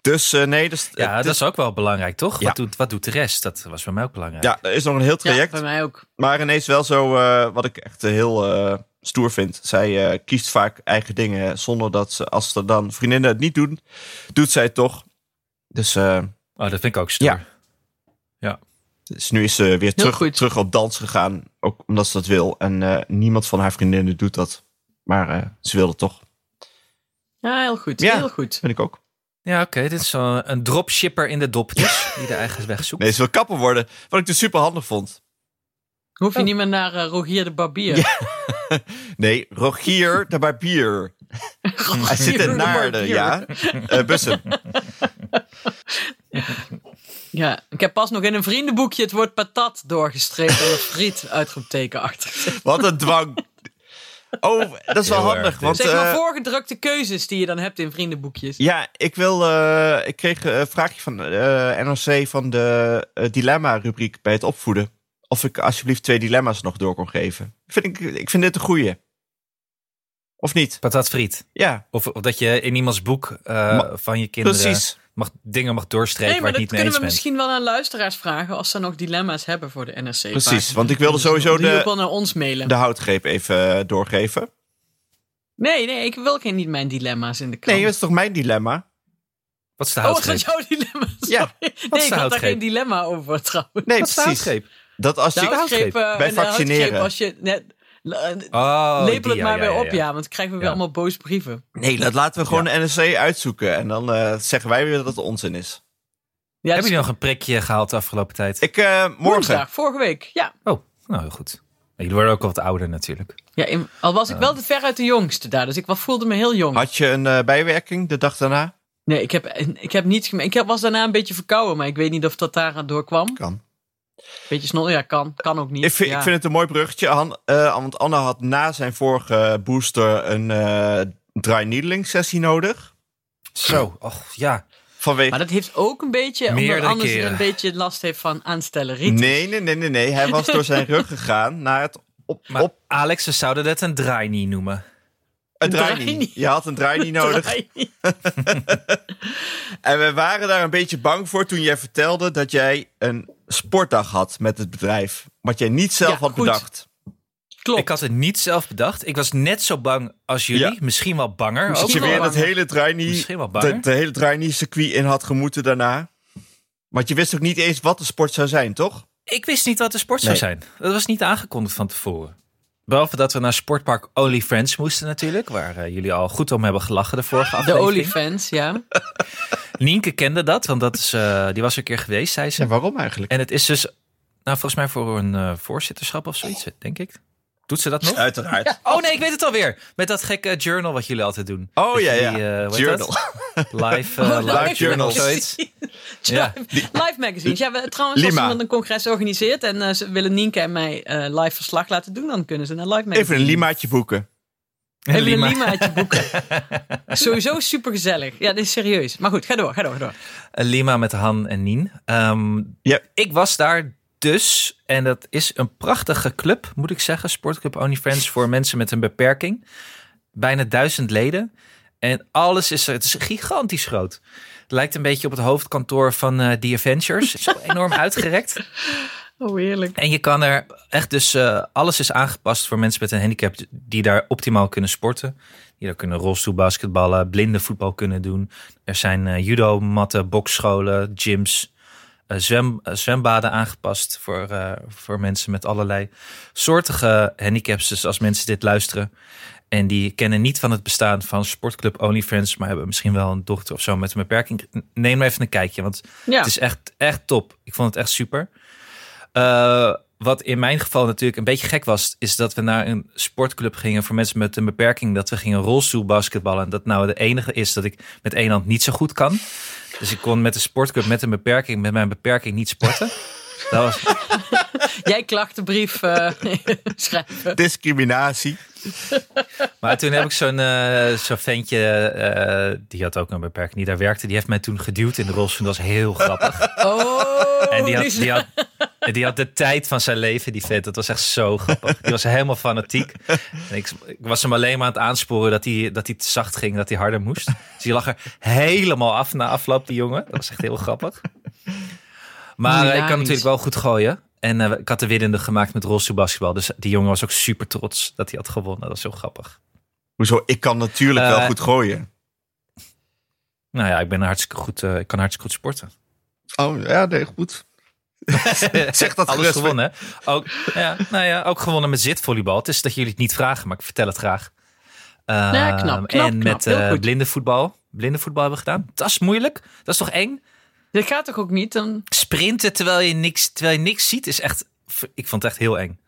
D: Dus eh, nee, dus,
F: Ja, dat is ook wel belangrijk, toch?
D: Ja.
F: Wat, doet, wat doet de rest? Dat was bij mij ook belangrijk.
D: ja, er is nog een heel
E: ja
D: traject.
E: bij mij ook.
D: Maar ineens wel zo, eh, wat ik echt eh, heel eh, stoer vind. Zij eh, kiest vaak eigen dingen zonder dat ze, als er dan vriendinnen het niet doen, doet zij het toch. Dus, eh,
F: Oh, dat vind ik ook stoer.
D: Ja. dus nu is ze weer terug,
E: goed.
D: terug op dans gegaan, ook omdat ze dat wil. En eh, niemand van haar vriendinnen doet dat. Maar eh, ze wil het toch,
E: Ja, heel goed.
D: Ja.
E: Heel goed.
D: vind ik ook.
F: Ja, oké. Dit is zo een dropshipper in de dop dus, die de eigen weg zoekt.
D: Nee, ze wil kapper worden, wat ik dus super handig vond.
E: Hoef
D: Oh.
E: je niet meer naar eh, Rogier de Barbier.
D: Nee, Rogier de Barbier. (laughs) Hij zit in Naarden, ja. Eh Bussum.
E: Ja, ik heb pas nog in een vriendenboekje het woord patat doorgestreept en een friet uitroepteken
D: (laughs)
E: achter.
D: Wat een dwang. Oh, dat is wel
F: Heel erg,
D: handig.
F: dit.
D: Want,
E: Zeg maar
D: eh,
E: voorgedrukte keuzes die je dan hebt in vriendenboekjes.
D: Ja, ik wil. eh, ik kreeg eh, een vraagje van eh NRC van de eh, dilemma-rubriek bij het opvoeden. Of ik alsjeblieft twee dilemma's nog door kon geven. Vind ik, ik vind dit een goeie. Of niet?
F: Patat friet.
D: Ja,
F: Of, of dat je in iemands boek eh,
D: Ma-
F: van je kinderen
D: precies.
F: mag, dingen mag doorstrepen
E: Nee, maar
F: waar je
E: dat
F: het niet mee
E: kunnen
F: eens
E: we
F: bent.
E: misschien wel aan luisteraars vragen als ze nog dilemma's hebben voor de NRC.
D: Precies, want ik wilde sowieso
E: Dus Die ook wel
D: de,
E: naar ons mailen.
D: de houtgreep even eh, doorgeven.
E: Nee, nee, ik wil geen niet mijn dilemma's in de krant.
D: Nee, dat is toch mijn dilemma?
F: Wat is de
E: oh, wat zijn
F: houtgreep?
E: (laughs) jouw dilemma's?
D: Ja,
E: Sorry.
F: de
E: nee, ik had daar
F: houtgreep?
E: geen dilemma over trouwens.
D: Nee,
F: Wat is de
D: precies.
F: houtgreep?
D: Dat als
E: De
D: je...
E: houtgreep, eh,
D: Bij
E: en de houtgreep
D: vaccineren.
E: als je net, eh,
F: Oh,
E: lepel
F: die,
E: het
F: ja,
E: maar
F: ja,
E: weer
F: ja,
E: op,
F: ja.
E: ja. want dan krijgen we weer
F: Ja.
E: allemaal boze brieven.
D: Nee, dat laten we gewoon de NSC uitzoeken. En dan eh, zeggen wij weer dat het onzin is.
E: Ja,
F: Hebben
E: dus
F: jullie nog een prikje gehaald de afgelopen tijd?
D: Ik, eh, morgen.
E: woensdag, vorige week. Ja,
F: Oh, nou heel goed. Jullie worden ook al wat ouder natuurlijk.
E: ja in- al was ik wel de veruit de jongste daar, dus ik wel- voelde me heel jong.
D: Had je een eh, bijwerking de dag daarna?
E: Nee, ik heb, ik heb niets geme- Ik heb- was daarna een beetje verkouden, maar ik weet niet of dat daar doorkwam.
D: Kan.
E: Beetje snor, ja, kan, kan ook niet.
D: Ik vind,
E: ja.
D: ik vind het een mooi bruggetje. Han, eh, want Anna had na zijn vorige booster een eh, dry needling sessie nodig.
F: Zo, och ja.
D: Vanwege...
E: Maar dat heeft ook een beetje, omdat
F: Meerdere
E: anders
F: keren.
E: een beetje last heeft van aanstelleriet.
D: Nee, nee, nee, nee, nee. Hij was door zijn rug gegaan naar het op,
F: Maar
D: op
F: Alex, ze zouden dat een draai niet noemen.
D: een
E: draai
D: draai
E: niet.
D: niet. Je had een draai
E: (laughs)
D: niet nodig. En we waren daar een beetje bang voor toen jij vertelde dat jij een sportdag had met het bedrijf. Wat jij niet zelf
E: Ja,
D: had
E: goed.
D: bedacht.
E: Klopt.
F: Ik had het niet zelf bedacht. Ik was net zo bang als jullie.
D: Ja.
F: Misschien wel banger.
D: Dat je
E: wel
D: weer dat
E: banger.
D: hele draini,
F: Misschien wel banger.
D: de, de hele draini circuit in had gemoeten daarna. Want je wist ook niet eens wat de sport zou zijn, toch?
F: Ik wist niet wat de sport zou
D: Nee.
F: zijn. Dat was niet aangekondigd van tevoren. Behalve dat we naar Sportpark Only Friends moesten natuurlijk. Waar eh, jullie al goed om hebben gelachen de vorige
E: Ah, De
F: aflevering.
E: olifants, ja.
F: Nienke kende dat, want dat is, eh, die was er een keer geweest, zei ze.
D: En waarom eigenlijk?
F: En het is dus, nou volgens mij voor een eh, voorzitterschap of zoiets, denk ik. Doet ze dat nog?
D: Uiteraard.
F: Oh nee, ik weet het alweer. Met dat gekke journal wat jullie altijd doen.
D: Oh
F: Dat
D: ja, ja.
F: jullie, eh, hoe heet
D: Journal.
F: dat? Live, eh,
E: Oh,
F: live
E: live
F: journal
E: journals.
F: of zoiets. (laughs) Ja.
E: Live magazines. Ja, we, trouwens,
D: Lima.
E: als iemand een congres organiseert en eh, ze willen Nienke en mij eh, live verslag laten doen, dan kunnen ze naar live magazines.
D: Even een limaatje boeken.
E: Even
F: Lima.
E: een Lima uit je boeken.
F: (laughs)
E: Sowieso supergezellig. Ja, dit is serieus. Maar goed, ga door, ga door, ga door.
F: Eh, Lima met Han en Nien. Ehm,
D: Ja.
F: Ik was daar dus. En dat is een prachtige club, moet ik zeggen. Sportclub Only Friends voor mensen met een beperking. Bijna duizend leden. En alles is er. Het is gigantisch groot. Het lijkt een beetje op het hoofdkantoor van eh The Adventures. Het is wel enorm (laughs) uitgerekt.
E: Oh, heerlijk.
F: En je kan er echt dus, eh, alles is aangepast voor mensen met een handicap die daar optimaal kunnen sporten. Die daar kunnen rolstoelbasketballen, blinde voetbal kunnen doen. Er zijn eh, judo-matten, boksscholen, gyms, eh, zwem, eh, zwembaden aangepast voor, eh, voor mensen met allerlei soortige handicaps. Dus als mensen dit luisteren en die kennen niet van het bestaan van Sportclub OnlyFriends, maar hebben misschien wel een dochter of zo met een beperking, neem maar even een kijkje, want
E: Ja.
F: het is echt, echt top. Ik vond het echt super. Eh, wat in mijn geval natuurlijk een beetje gek was, is dat we naar een sportclub gingen voor mensen met een beperking. Dat we gingen rolstoelbasketballen. En dat nou de enige is dat ik met één hand niet zo goed kan. Dus ik kon met een sportclub met een beperking, met mijn beperking niet sporten. Dat was,
E: Jij klachtenbrief eh, (laughs) schrijven.
D: Discriminatie.
F: maar toen heb ik zo'n eh, zo'n ventje, eh, die had ook een beperking, die daar werkte. Die heeft mij toen geduwd in de rolstoel. Dat was heel grappig.
E: Oh,
F: En die had,
E: die is-
F: die,
E: (laughs)
F: had, die had de tijd van zijn leven, die vet. Dat was echt zo grappig. Die was helemaal fanatiek. En ik, ik was hem alleen maar aan het aansporen dat hij, dat hij te zacht ging, dat hij harder moest. Dus die lag er helemaal af na afloop, die jongen. Dat was echt heel grappig. Maar eh, ik
E: Hilarisch.
F: kan natuurlijk wel goed gooien. En eh, ik had de winnende gemaakt met rolstoelbasketbal. Dus die jongen was ook super trots dat hij had gewonnen. Dat was heel grappig.
D: Hoezo? Ik kan natuurlijk
F: Eh,
D: wel goed gooien.
F: Nou ja, ik ben hartstikke goed. eh, ik kan hartstikke goed sporten.
D: Oh, ja, nee, goed. (laughs) zeg dat
F: Alles
D: gerust.
F: gewonnen. hè? Ook, ja, nou ja, ook gewonnen met zitvolleybal. Het is dat jullie het niet vragen, maar ik vertel het graag.
E: Ja, knap, knap,
F: Ehm,
E: knap.
F: en met
E: Heel
F: eh,
E: goed.
F: blinde voetbal. Blinde voetbal hebben we gedaan. Dat is moeilijk. Dat is toch eng?
E: Dat gaat toch ook niet? Dan...
F: Sprinten terwijl je niks, terwijl je niks ziet is echt... Ik vond het echt heel eng.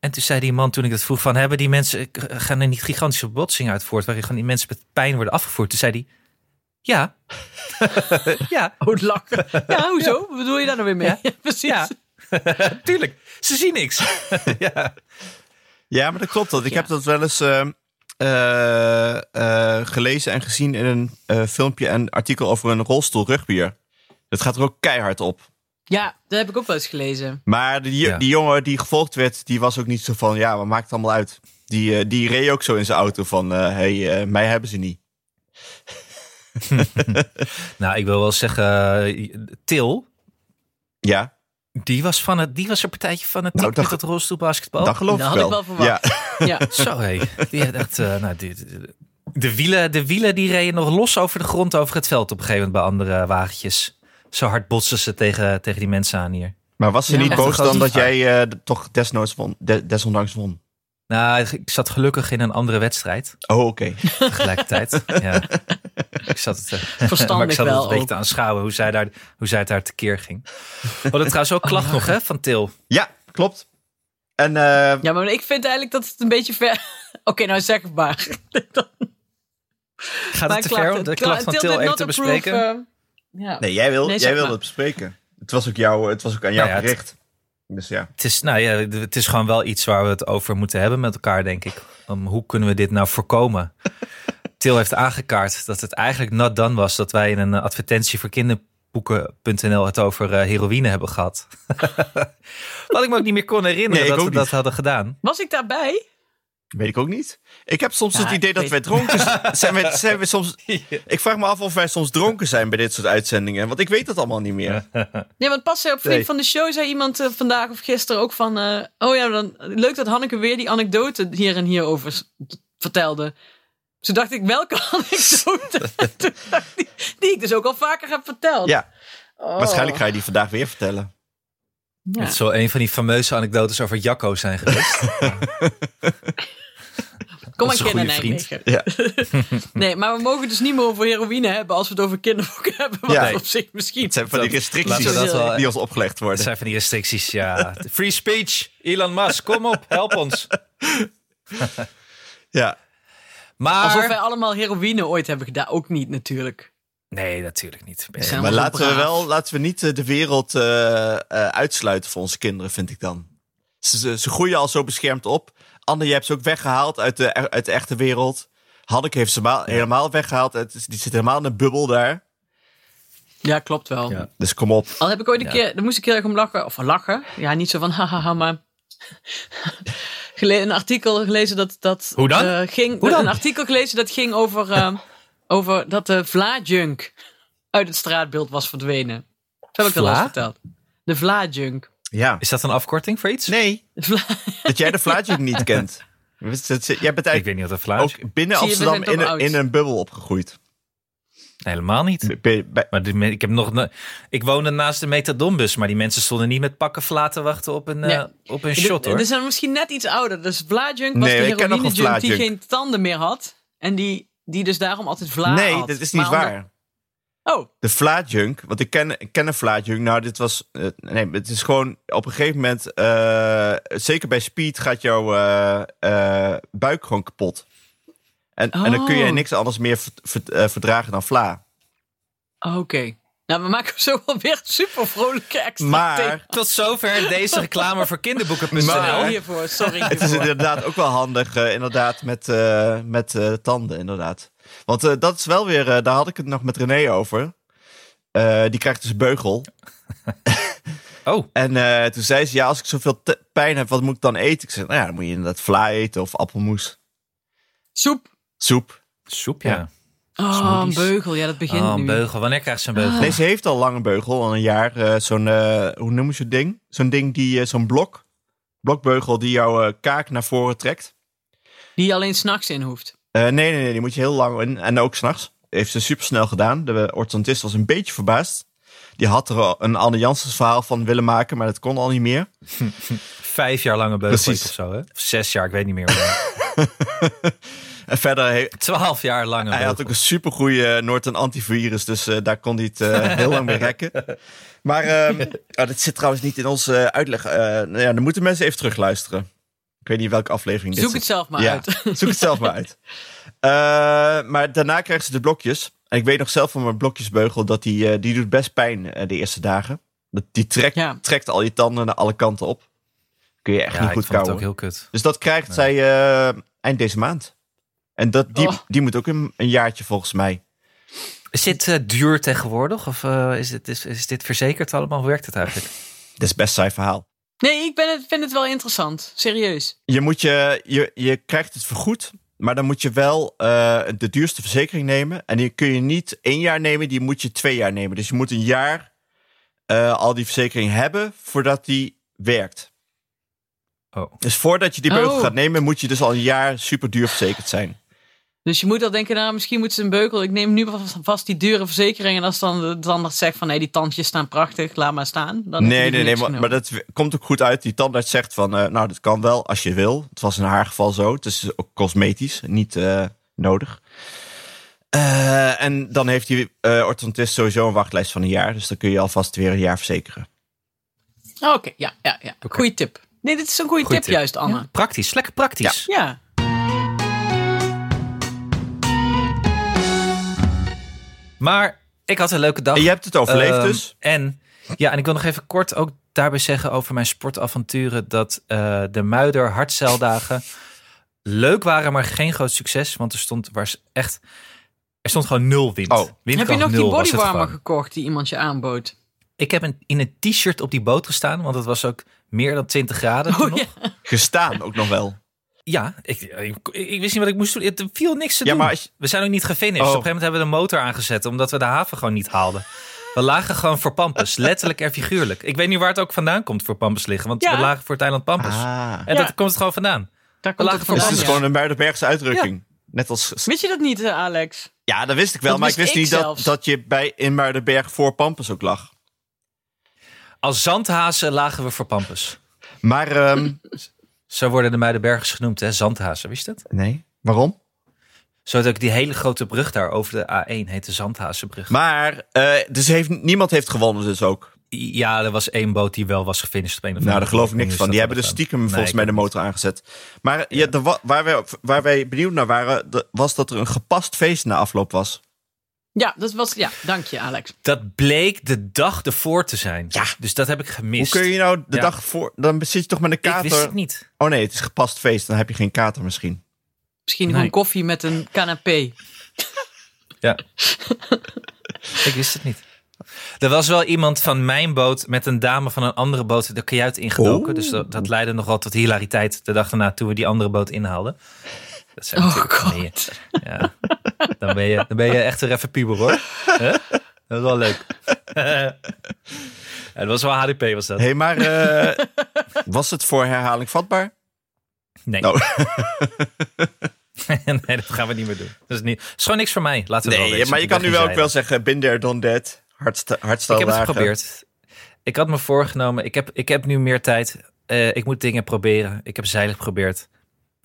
F: En toen zei die man, toen ik dat vroeg, van hebben die mensen... eh, Gaan er niet gigantische botsingen uit voort... waarin gewoon die mensen met pijn worden afgevoerd? Toen zei hij, ja. (laughs) ja,
E: Oh, lachen. (laughs) Ja, hoezo? Wat bedoel je daar nou weer mee?
F: Ja.
E: (laughs) Ja, precies.
F: ja. Tuurlijk, ze zien niks. ja.
D: Ja, maar dat klopt. Dat. Ik
E: Ja.
D: heb dat wel eens eh, eh, eh, gelezen en gezien in een eh, filmpje en artikel over een rolstoel rugbier. Dat gaat er ook keihard op.
E: Ja, dat heb ik ook wel eens gelezen.
D: Maar die, jo-
F: Ja.
D: die jongen die gevolgd werd, die was ook niet zo van, ja, wat maakt het allemaal uit? eh, Die, eh, die reed ook zo in zijn auto van, hé, hey, eh, mij hebben ze niet.
F: Nou, ik wil wel zeggen, eh, Til,
D: Ja,
F: die was, van het, die was een partijtje van het
D: Nou,
F: met
D: dat-
F: dat rolstoelbasketbal.
D: dat geloof
E: Oh, dat
D: ik
E: had
D: wel.
E: ik wel verwacht.
D: Ja,
E: Ja.
F: Zo hé. Die had echt, eh, nou, die- die- de, wielen, de wielen die reden nog los over de grond over het veld op een gegeven moment bij andere wagentjes. Zo hard botsen ze tegen, tegen die mensen aan hier.
D: maar was ze
E: Ja,
D: niet
E: echt
F: een
D: boos
F: grote
D: dan dat
F: vraag.
D: jij eh, d- toch desnoods won, de- desondanks won?
F: Nou, ik zat gelukkig in een andere wedstrijd
D: Oh, oké. (laughs)
F: tegelijkertijd. ja. Ik zat het, eh, (laughs)
E: Verstandig
F: maar ik zat het
E: wel
F: een beetje
E: ook.
F: te aanschouwen hoe zij daar, hoe zij het daar tekeer ging. We hadden trouwens
E: Oh,
F: ook klacht nog hè, van Til.
D: Ja, klopt. En eh,
E: ja, maar ik vind eigenlijk dat het een beetje ver... (laughs) Oké, nou zeg het maar.
F: Gaat
E: Maar
F: het te ver om
E: het.
F: de klacht van
E: Till
F: Til
E: did
F: even
E: not
F: te
E: approve,
F: bespreken?
E: eh, ja.
D: nee, jij, wil,
E: Nee, zeg
D: jij wilde
E: maar.
D: het bespreken. Het was ook, jou, het was ook aan jou
F: Nou ja, het-
D: gericht. Dus ja.
F: Het is, nou ja, d- het is gewoon wel iets waar we het over moeten hebben met elkaar, denk ik. Om, hoe kunnen we dit nou (laughs) voorkomen? Til heeft aangekaart dat het eigenlijk nat dan was dat wij in een eh, advertentie voor kinderboeken.nl het over eh, heroïne hebben gehad. (laughs) Wat ik me ook niet meer kon herinneren
D: Nee, ik
F: dat we
D: ook
F: dat
D: niet.
F: hadden gedaan.
E: Was ik daarbij?
D: Weet ik ook niet. Ik heb soms
E: Ja,
D: het idee
E: ik
D: dat
E: weet-
D: wij dronken z- zijn. We, zijn we soms, ik vraag me af of wij soms dronken zijn bij dit soort uitzendingen. Want ik weet dat allemaal niet meer.
E: Nee, want pas eh, op vriend
F: Nee.
E: van de show zei iemand eh, vandaag of gisteren ook van... eh, oh ja, dan, leuk dat Hanneke weer die anekdote hier en hierover s- vertelde. Toen dacht ik, welke (laughs)
F: (laughs)
E: anekdote? Toen dacht ik, die ik dus ook al vaker heb verteld.
D: Ja,
E: Oh.
D: waarschijnlijk ga je die vandaag weer vertellen.
E: Ja.
F: Het zal een van die fameuze anekdotes over Jacco zijn geweest.
E: Kom maar
F: Dat is
E: keer
F: een
E: naar
F: goede
E: Nijmegen.
F: (laughs)
D: Ja.
E: Nee, maar we mogen dus niet meer over heroïne hebben als we het over kinderboeken (laughs) hebben. Wat
D: Ja.
E: op zich misschien.
D: Het zijn van die restricties
F: Laten we dat wel-
D: die ons opgelegd
F: (laughs) Dat
D: worden.
F: zijn van die restricties, ja. (laughs) Free speech, Elon Musk, kom op, help ons.
D: Ja.
F: Maar...
E: Alsof wij allemaal heroïne ooit hebben gedaan. Ook niet natuurlijk.
F: Nee, natuurlijk niet. Ben je
E: zijn
D: Maar
E: Allemaal
D: laten we,
E: braaf.
D: wel, laten we niet eh, de wereld eh, eh, uitsluiten voor onze kinderen, vind ik dan. Ze, ze, ze groeien al zo beschermd op. Anne, je hebt ze ook weggehaald uit de, uit de echte wereld. Hanneke heeft ze ma- helemaal weggehaald. Het is- die zit helemaal in een bubbel daar.
E: Ja, klopt wel.
F: Ja.
D: Dus kom op.
E: Al heb ik ooit een keer, daar moest ik heel erg om lachen. Of lachen. Ja, niet zo van (laughs) hahaha, maar. gele- een artikel gelezen dat. dat
F: Hoe dan?
E: eh, ging,
F: Hoe dan?
E: Een artikel gelezen dat ging over. eh, over dat de Vla-junk uit het straatbeeld was verdwenen. Dat heb ik al
F: Vla?
E: eens verteld. De Vla-junk.
D: Ja.
F: Is dat een afkorting voor iets?
D: Nee,
E: Vla-
D: dat jij de
F: (laughs)
D: Vlaatje niet kent. Dat- dat- Jij bent
F: Ik weet
D: eigenlijk
F: niet wat een vlaag
D: ook binnen
E: Zie je, we
D: Amsterdam
E: zijn toch
D: in een,
E: oud.
D: in een bubbel opgegroeid.
F: Helemaal niet.
D: Bij- bij-
F: Maar die me- ik, heb nog, ne- ik woonde naast de metadonbus, maar die mensen stonden niet met pakken flaten wachten op een, eh,
E: Nee.
F: op een shot hoor.
E: Er zijn misschien net iets ouder. Dus Vla-junk was
D: Nee,
E: de
D: ik ken nog wel
E: heroïne-junk die
D: Vla-junk.
E: geen tanden meer had. En die, die dus daarom altijd Vla
D: nee,
E: had.
D: dat is niet
E: Maar
D: waar.
E: omdat- Oh,
D: De Vlaatjunk, want ik ken, ik ken een Vlaatjunk. Nou, dit was. eh, nee, het is gewoon op een gegeven moment. eh, zeker bij speed gaat jouw eh, eh, buik gewoon kapot. En, en dan kun je
E: Oh.
D: niks anders meer verd- verd- eh, verdragen dan Vla.
E: Oké. Nou, we maken zo wel weer super vrolijke extra thee.
D: Maar
F: Tot zover deze reclame voor kinderboeken.nl.
E: Snel
D: Maar-
E: hiervoor,
D: (laughs)
E: sorry.
D: het is
E: hiervoor.
D: inderdaad ook wel handig, eh, inderdaad, met, eh, met eh, tanden, inderdaad. Want eh, dat is wel weer, eh, daar had ik het nog met René over. Eh, die krijgt dus een beugel.
F: Oh,
D: En eh, toen zei ze, ja, als ik zoveel te- pijn heb, wat moet ik dan eten? Ik zei, nou ja, dan moet je inderdaad vla eten of appelmoes,
E: Soep.
D: soep.
F: soep ja.
E: Oh, een
F: Smoothies.
E: beugel. Ja, dat begint
F: Oh, een
E: nu.
F: beugel. Wanneer krijgt ze een beugel?
D: Nee, ze heeft al lang een beugel, al een jaar. eh, zo'n, eh, hoe noemen ze het ding? Zo'n ding die, eh, zo'n blok, blokbeugel die jouw eh, kaak naar voren trekt.
E: Die je alleen s'nachts in hoeft.
D: Eh, nee, nee, nee, die moet je heel lang in. En ook s'nachts. Heeft ze supersnel gedaan. De orthodontist was een beetje verbaasd. Die had er al een Anne Janssens verhaal van willen maken, maar dat kon al niet meer.
F: Vijf jaar lange beugel
D: Precies.
F: of zo hè? Of zes jaar, ik weet niet meer.
D: (laughs)
F: maar
D: En verder, he-
F: Twaalf jaar lange
D: Hij
F: beugel.
D: had ook een supergoeie Norton antivirus, dus eh, daar kon hij het eh, heel lang mee rekken.
F: (laughs)
D: Maar ehm, oh, dat zit trouwens niet in onze eh, uitleg. Eh, nou ja, dan moeten mensen even terugluisteren. Ik weet niet welke aflevering dit
E: Zoek
D: zit.
E: het zelf maar
D: Ja,
E: uit.
D: (laughs) Zoek het zelf maar uit. Eh, maar daarna krijgen ze de blokjes. En ik weet nog zelf van mijn blokjesbeugel dat die, eh, die doet best pijn eh, de eerste dagen. Dat, die trekt,
E: Ja.
D: trekt al je tanden naar alle kanten op. Kun je echt
F: Ja,
D: niet
F: ik
D: goed
F: vond het
D: kauwen.
F: ook heel kut.
D: Dus dat krijgt zij eh, eind deze maand. En dat, die,
E: Oh.
D: die moet ook een, een jaartje volgens mij.
F: Is dit eh, duur tegenwoordig? Of eh, is, dit, is, is dit verzekerd allemaal? Hoe werkt het eigenlijk?
D: Dat is best saai verhaal.
E: Nee, ik ben het, vind het wel interessant. Serieus.
D: Je, moet je, je, je krijgt het vergoed Maar dan moet je wel eh, de duurste verzekering nemen. En die kun je niet één jaar nemen, die moet je twee jaar nemen. Dus je moet een jaar eh, al die verzekering hebben voordat die werkt.
F: Oh.
D: Dus voordat je die beugel
E: Oh.
D: gaat nemen, moet je dus al een jaar super duur verzekerd zijn.
E: Dus je moet al denken, nou, misschien moeten ze een beukel. Ik neem nu vast- vast die dure verzekering. En als dan de tandarts zegt van, hé, die tandjes staan prachtig, laat maar staan. Dan heb Oh,
D: Nee,
E: je niks nou.
D: nee, nee, maar,
E: genomen.
D: maar dat w- komt ook goed uit. Die tandarts zegt van, eh, nou, dat kan wel als je wil. Het was in haar geval zo. Het is ook cosmetisch, niet eh, nodig. Eh, en dan heeft die eh, orthodontist sowieso een wachtlijst van een jaar. Dus dan kun je alvast weer een jaar verzekeren.
E: Oh, Oké, ja, ja, ja. Goeie tip. Nee, dit is een goede
F: Goeie
E: tip,
F: tip.
E: juist, Anne.
F: Praktisch, lekker praktisch.
E: Ja.
F: Maar ik had een leuke dag.
D: En je hebt het overleefd
F: Ehm,
D: dus.
F: En, ja, en ik wil nog even kort ook daarbij zeggen over mijn sportavonturen. Dat eh, de Muider hardzeildagen leuk waren, maar geen groot succes. Want er stond was echt... Er stond gewoon nul wind.
D: Oh.
E: Heb
F: Windkracht
E: je nog die
F: nul was het
E: bodywarmer
F: gewoon.
E: gekocht die iemand je aanbood?
F: Ik heb een, in een t-shirt op die boot gestaan. Want het was ook meer dan 20 graden toen nog.
E: Oh, ja.
F: Ja,
D: Gestaan ook nog wel.
F: ik, eh, ik, ik wist niet wat ik moest doen. Er viel niks te
D: Ja,
F: doen.
D: maar als je-
F: We zijn ook niet gefinished.
D: Oh.
F: Op een gegeven moment hebben we de motor aangezet. Omdat we de haven gewoon niet haalden. We lagen gewoon voor
D: (laughs)
F: Pampus. Letterlijk en figuurlijk. Ik weet niet waar het ook vandaan komt voor Pampus liggen. Want
E: Ja.
F: we lagen voor het eiland Pampus.
D: Ah.
F: En
E: Ja.
F: dat komt het gewoon vandaan.
E: Daar komt
F: lagen
E: het
F: van
D: Dus
E: vandaan,
D: het is
E: Eh, ja.
D: gewoon een Muidenbergse uitdrukking. Net als...
E: Wist je dat niet, eh, Alex?
D: Ja, dat wist ik wel.
E: Dat
D: maar ik
E: wist
D: wist
E: ik
D: niet dat,
E: zelfs.
D: dat je bij in Muidenberg voor Pampus ook lag.
F: Als zandhazen lagen we voor Pampus.
D: Maar, ehm,
F: Zo worden de Muidenbergers genoemd, hè? Zandhazen, wist je dat?
D: nee. Waarom?
F: Zo had ook die hele grote brug daar over de A1 heet de Zandhazenbrug.
D: Maar, eh, dus heeft, niemand heeft gewonnen dus ook.
F: Ja, er was één boot die wel was gefinished. op een of
D: Nou,
F: andere
D: daar geloof ik
F: manier.
D: niks van.
F: Dus dat
D: Die hebben dus
F: had ik
D: stiekem
F: gedaan.
D: volgens
F: Nee,
D: mij de motor aangezet. Maar ja, de wa- waar, wij, waar wij benieuwd naar waren, de- was dat er een gepast feest na afloop was.
E: Ja, dat was... Ja, dank je, Alex.
F: Dat bleek de dag ervoor te zijn.
D: Ja.
F: Dus dat heb ik gemist.
D: Hoe kun je nou de
F: Ja.
D: dag voor... Dan zit je toch met een
F: Ik
D: kater?
F: wist het niet.
D: Oh nee, het is gepast feest. Dan heb je geen kater misschien.
E: Misschien gewoon
F: Nee.
E: koffie met een canapé.
F: Ja. (laughs) ik wist het niet. Er was wel iemand van mijn boot met een dame van een andere boot de kajuit ingedoken.
D: Oeh.
F: Dus dat, dat leidde nogal tot hilariteit de dag daarna toen we die andere boot inhaalden. Dat zijn
E: Oh,
F: natuurlijk van die-
E: God.
F: ja. dan, ben je, dan ben je echt weer even puber hoor. Huh? Dat is wel leuk. (laughs) ja, dat was wel HDP was dat.
D: Hé, hey, maar eh,
F: (laughs)
D: was het voor herhaling vatbaar?
F: Nee.
D: Nou.
F: (laughs) nee, dat gaan we niet meer doen. Dat is, niet, dat is gewoon niks voor mij. Laten we
D: (laughs)
F: wel
D: Nee,
F: wezen.
D: maar je
F: Ik
D: kan
F: ben
D: nu
F: geen
D: wel ook
F: zeiler.
D: wel zeggen, been there, done that. Hardsta-
F: Ik heb
D: Hardsteldagen.
F: het geprobeerd. Ik had me voorgenomen. Ik heb, ik heb nu meer tijd. Eh, ik moet dingen proberen. Ik heb zeilen geprobeerd.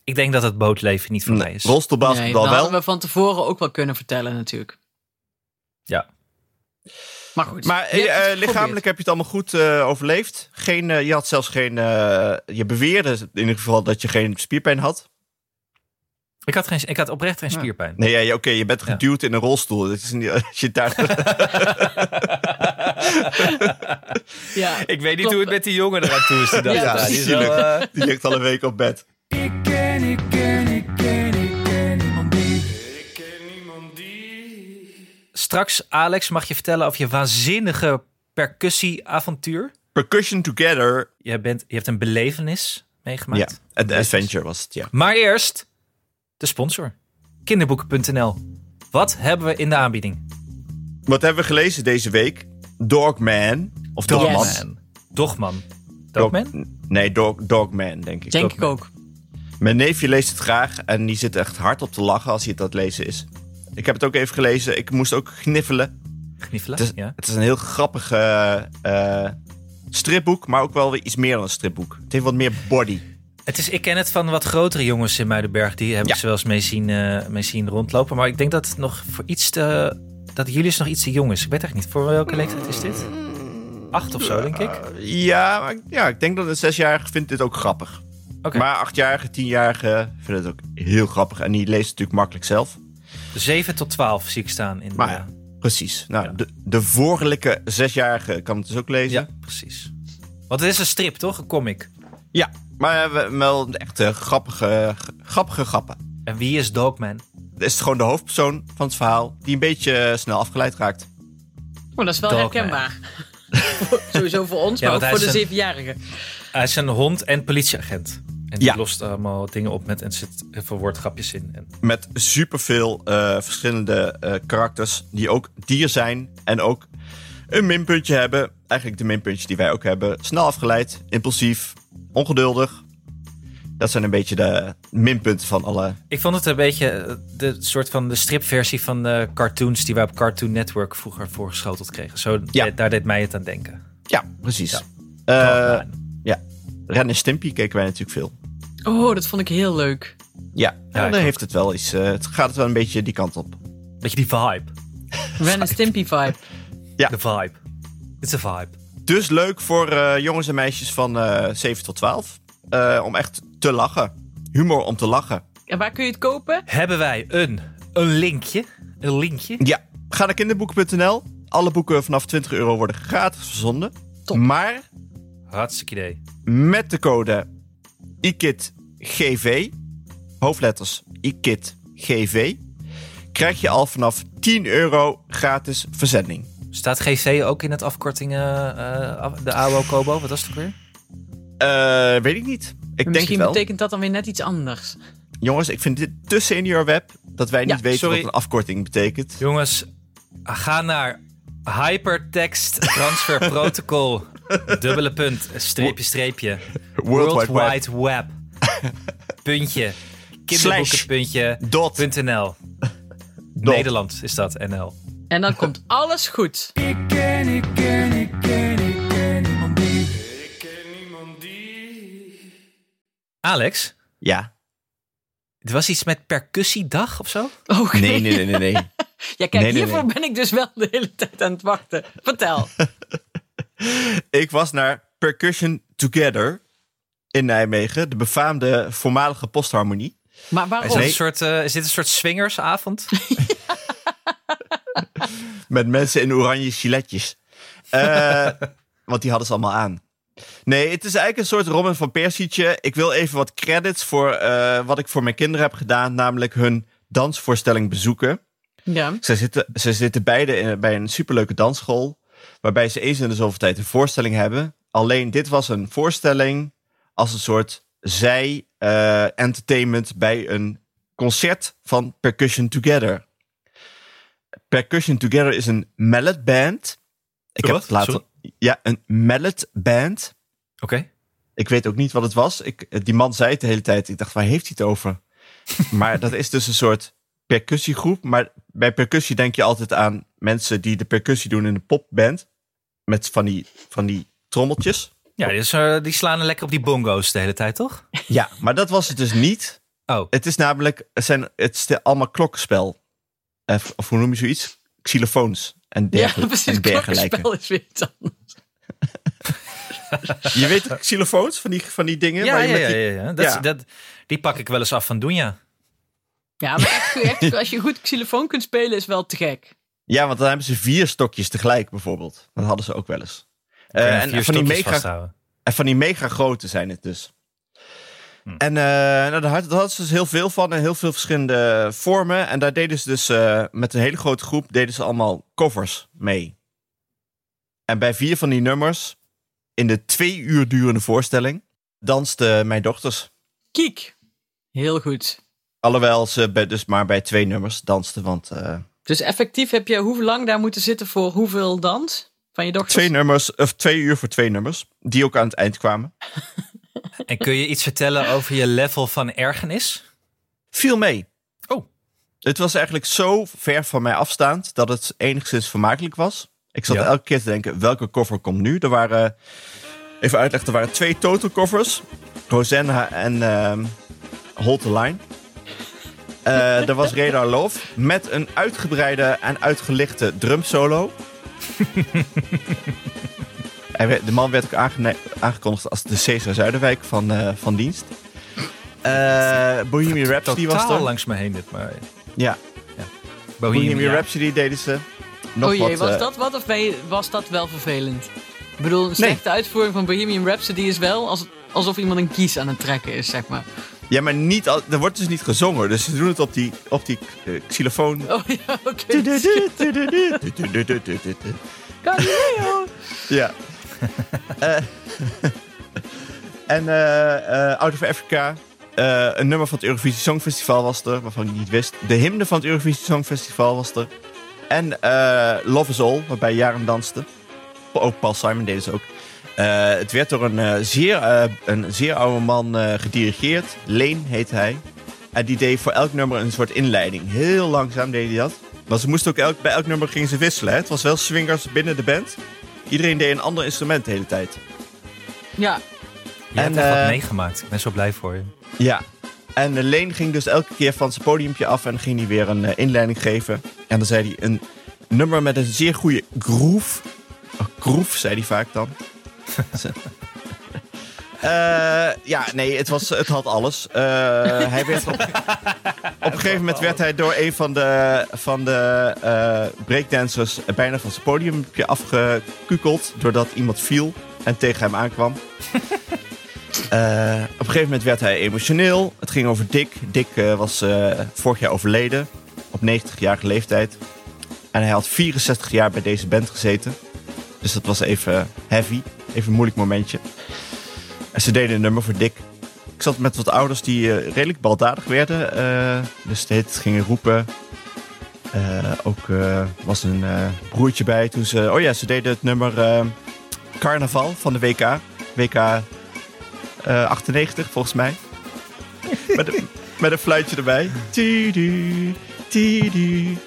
F: Ik denk dat het bootleven niet voor mij is.
E: Nee,
D: Rolstoelbasketbal
E: dat
D: wel.
E: hadden we van tevoren ook wel kunnen vertellen natuurlijk.
F: Ja.
E: Maar goed.
D: Maar
E: je hebt
D: eh,
E: het
D: eh,
E: geprobeerd.
D: lichamelijk heb je het allemaal goed eh, overleefd. Geen, eh, je had zelfs geen. eh, je beweerde in ieder geval dat je geen spierpijn had.
F: Ik had, geen, ik had oprecht geen spierpijn.
D: Nee, ja, ja, oké, je bent
F: Ja.
D: geduwd in een rolstoel. Dat is niet, (laughs) als je daar, (laughs)
E: Ja,
F: Ik weet niet
E: Klopt.
F: hoe het met die jongen eraan toe is. (laughs) Die dag.
E: Ja,
F: Ja, die is wel,
D: zielig.
F: eh,
D: die ligt al een week op bed.
G: Ik ken, ik ken, ik ken, ik ken niemand die. Ik ken niemand die.
F: Straks, Alex, mag je vertellen over je waanzinnige percussieavontuur.
D: Percussion Together.
F: Je, bent, je hebt een belevenis
D: Ja,
F: meegemaakt.
D: het adventure was het, ja.
F: Maar eerst de sponsor. Kinderboeken.nl. Wat hebben we in de aanbieding?
D: Wat hebben we gelezen deze week? Dogman. Of Dogman.
F: Dogman. Dogman.
D: Dog-
F: Dogman?
D: Nee, dog, Dogman, denk ik.
E: denk ik
D: Dogman.
E: ook. Oh,
D: Mijn neefje leest het graag en die zit echt hard op te lachen als hij het aan het lezen is. Ik heb het ook even gelezen. Ik moest ook gniffelen.
F: Kniffelen?
D: Het is,
F: ja.
D: het is een heel grappig eh, eh, stripboek, maar ook wel weer iets meer dan een stripboek. Het heeft wat meer body.
F: Het is, ik ken het van wat grotere jongens in Muidenberg. Die hebben
D: Ja.
F: ze wel eens mee zien, eh, mee zien rondlopen. Maar ik denk dat het nog voor iets te... Dat Julius nog iets te jong is. Ik weet echt niet. Voor welke leeftijd is dit? Acht of zo, denk ik. Oké.
D: Ja, maar ik- ja ik denk dat een zesjarige vindt dit ook grappig. Maar achtjarige, tienjarige vinden het ook heel grappig. En die leest het natuurlijk makkelijk zelf.
F: Zeven tot twaalf zie ik staan. In de-
D: Maar ja, precies. Nou, de, de vorige zesjarige kan het dus ook lezen.
F: ja, precies. Want het is een strip, toch? Een comic.
D: Ja, maar we- wel echt eh, grappige, grappige grappen.
F: En wie is Dogman?
D: Dat is gewoon de hoofdpersoon van het verhaal die een beetje eh, snel afgeleid raakt.
E: Oh, dat is wel
F: Dogman.
E: herkenbaar. (laughs) Sowieso voor ons,
F: Ja,
E: maar
F: want
E: ook
F: hij
E: voor
F: is
E: de
F: een-
E: zevenjarigen.
F: Hij is een hond en politieagent. En die
D: Ja.
F: lost allemaal dingen op met en zit heel veel woordgrapjes in. En,
D: Met superveel eh verschillende eh, karakters die ook dier zijn en ook een minpuntje hebben. Eigenlijk de minpuntjes die wij ook hebben. Snel afgeleid, impulsief, ongeduldig. Dat zijn een beetje de minpunten van alle...
F: ik vond het een beetje eh, de soort van de stripversie van de cartoons die wij op Cartoon Network vroeger voorgeschoteld kregen. Zo,
D: Ja.
F: eh, daar deed mij het aan denken.
D: Ja, precies.
F: Gewoon
D: Ja.
F: fijn.
D: ja. Ren en Stimpy keken wij natuurlijk veel.
E: Oh, dat vond ik heel leuk.
D: Ja,
F: Ja, ik
D: dan
F: ook.
D: heeft het wel iets. eh, het gaat het wel een beetje die kant op.
F: Beetje die vibe.
E: Ren en Stimpy vibe.
F: De vibe. It's a vibe.
D: Dus leuk voor eh, jongens en meisjes van eh 7 tot 12. eh, om echt te lachen. Humor om te lachen.
E: En waar kun je het kopen?
F: Hebben wij een, een linkje? Een linkje?
D: Ja, ga naar kinderboeken.nl. Alle boeken vanaf 20 euro worden gratis verzonden.
E: Top.
D: Maar
F: Hartstikke idee.
D: met de code IKITGV, hoofdletters IKITGV, krijg je al vanaf 10 euro gratis verzending.
F: Staat GC ook in het afkorting eh, eh, af- de AWO Kobo? Wat was het ook weer?
D: Eh, weet ik niet. Ik denk het
E: Misschien
D: wel.
E: betekent dat dan weer net iets anders.
D: Jongens, ik vind dit te senior web dat wij
E: Ja,
D: niet weten
F: sorry.
D: wat een afkorting betekent.
F: Jongens, ga naar Hypertext
D: (laughs)
F: Transfer Protocol. Dubbele punt, streepje, streepje.
D: World Wide Web.
F: Wide Web.
D: (laughs)
F: Puntje.
D: Slash.
F: Kinderboeken.nl.
D: Dot.
F: .nl. Nederland is dat, NL.
E: En dan komt alles goed.
G: Ik ken, ik ken, ik ken, ik ken niemand die. Ik ken niemand die.
F: Alex,
D: Ja.
F: het was iets met percussiedag of zo?
E: Oké.
D: Nee, nee, nee, nee,
E: (laughs)
D: nee.
E: Ja, kijk,
D: Nee, nee,
E: hiervoor
D: nee.
E: ben ik dus wel de hele tijd aan het wachten. Vertel.
D: Ik was naar Percussion Together in Nijmegen, de befaamde voormalige postharmonie.
E: Maar
F: Is,
E: waarom?
F: dat
D: Nee.
F: een soort, eh, is dit een soort
E: (laughs)
F: swingersavond?
D: Met mensen in oranje giletjes. Eh, want die hadden ze allemaal aan. Nee, het is eigenlijk een soort Robin van Persietje. Ik wil even wat credits voor eh, wat ik voor mijn kinderen heb gedaan, namelijk hun dansvoorstelling bezoeken.
E: Ja.
D: Ze zitten, ze zitten beide in- bij een superleuke dansschool. Waarbij ze eens in de zoveel tijd een voorstelling hebben. Alleen dit was een voorstelling als een soort zij-entertainment bij een concert van Percussion Together. Percussion Together is een mallet band. Ik heb
F: Wat?
D: het later. Ja, een mallet band.
F: Oké.
D: Ik weet ook niet wat het was. Ik, eh, die man zei het de hele tijd. Ik dacht, waar heeft hij het over? maar dat is dus een soort percussiegroep. Maar bij percussie denk je altijd aan mensen die de percussie doen in een popband. Met van die, van die trommeltjes.
F: Ja, dus, eh, die slaan lekker op die bongo's de hele tijd, toch?
D: Ja, maar dat was het dus niet.
F: Oh,
D: Het is namelijk, het, zijn, het is de- allemaal klokkenspel. Eh, Of, hoe noem je zoiets? Xylofoons en,
E: Ja,
D: dergel-
E: (laughs) precies.
D: en dergelijke.
E: Klokkenspel is weer iets anders.
D: Je weet de xylofoons van die, van die dingen?
F: ja,
D: waar
F: ja,
D: je
F: ja,
D: met die-
F: ja, ja. Dat, is-
D: Ja. Eh,
F: Dat, die pak ik wel eens af van Doenja.
E: Ja, maar echt, echt, als je goed xylofoon kunt spelen is wel te gek.
D: Ja, want dan hebben ze vier stokjes tegelijk bijvoorbeeld. Dat hadden ze ook wel eens. Eh,
F: Ja,
D: en
F: vier
D: van die
F: stokjes
D: mega-
F: vasthouden.
D: En van die mega grote zijn het dus.
F: Hm.
D: En eh, nou, daar had- daar hadden ze dus heel veel van en heel veel verschillende vormen. En daar deden ze dus eh, met een hele grote groep deden ze allemaal covers mee. En bij vier van die nummers, in de twee uur durende voorstelling, dansten mijn dochters.
E: Kiek. Heel goed.
D: Alhoewel ze bij- dus maar bij twee nummers dansten, want eh,
E: Dus effectief heb je hoe lang daar moeten zitten voor hoeveel dans van je dochter?
D: twee nummers, of twee uur voor twee nummers, die ook aan het eind kwamen.
F: En kun je iets vertellen over je level van ergernis?
D: Viel mee.
F: Oh,
D: Het was eigenlijk zo ver van mij afstaand dat het enigszins vermakelijk was. Ik zat
F: Ja.
D: elke keer te denken, welke cover komt nu? Er waren, even uitleggen, er waren twee total covers. Rosanna en ehm Hold the Line. Eh, er was Radar Love met een uitgebreide en uitgelichte drumsolo. Hij werd- de man werd ook aangene- aangekondigd als de Cesar Zuiderwijk van, eh, van dienst. Eh Bohemian Rhapsody was
F: totaal
D: er.
F: langs me heen dit, maar
D: Ja,
F: Bohemian,
D: Bohemian
F: ja.
D: Rhapsody deden ze. Nog
E: Oh jee,
D: wat,
E: was
D: eh,
E: dat wat of ben je- was dat wel vervelend? Ik bedoel, een slechte uitvoering van Bohemian Rhapsody is wel als, alsof iemand een kies aan het trekken is, zeg maar.
D: Ja, maar niet, al- er wordt dus niet gezongen. Dus ze doen het op die, op die eh, xylofoon.
E: Oh ja, oké. Galileo.
D: (laughs) Ja. Eh, En eh, eh, Out of Africa. Eh, een nummer van het Eurovisie Songfestival was er, waarvan ik niet wist. De hymne van het Eurovisie Songfestival was er. En eh, Love is All, waarbij Jaren danste. Ook Paul Simon deed ze ook. Eh, het werd door een, eh, zeer, eh, een zeer oude man eh, gedirigeerd. Leen heet hij. En die deed voor elk nummer een soort inleiding. Heel langzaam deed hij dat. Maar ze moesten ook elk, bij elk nummer gingen ze wisselen. Hè? Het was wel swingers binnen de band. Iedereen deed een ander instrument de hele tijd.
E: Ja,
F: Je
D: En,
F: hebt echt
D: eh,
F: wat meegemaakt. Ik ben zo blij voor je.
D: Ja. En eh, Leen ging dus elke keer van zijn podiumpje af en ging hij weer een eh, inleiding geven. En dan zei hij een nummer met een zeer goede groove. Oh, groove, zei hij vaak dan. Eh, ja, nee, het, was, het had alles. Eh, hij werd op, op een gegeven moment werd hij door een van de, van de eh, breakdancers bijna van zijn podiumpje afgekukeld. Doordat iemand viel en tegen hem aankwam. Eh, op een gegeven moment werd hij emotioneel. Het ging over Dick. Dick eh, was eh, vorig jaar overleden. Op 90-jarige leeftijd. En hij had 64 jaar bij deze band gezeten. Dus dat was even heavy. Even een moeilijk momentje. En ze deden een nummer voor Dick. Ik zat met wat ouders die eh, redelijk baldadig werden. eh, dus de hele tijd gingen roepen. Eh, ook eh, was een eh, broertje bij toen ze... Oh ja, ze deden het nummer eh, Carnaval van de WK. WK eh, 98 volgens mij. met, een, met een fluitje erbij. Tidu, tidu.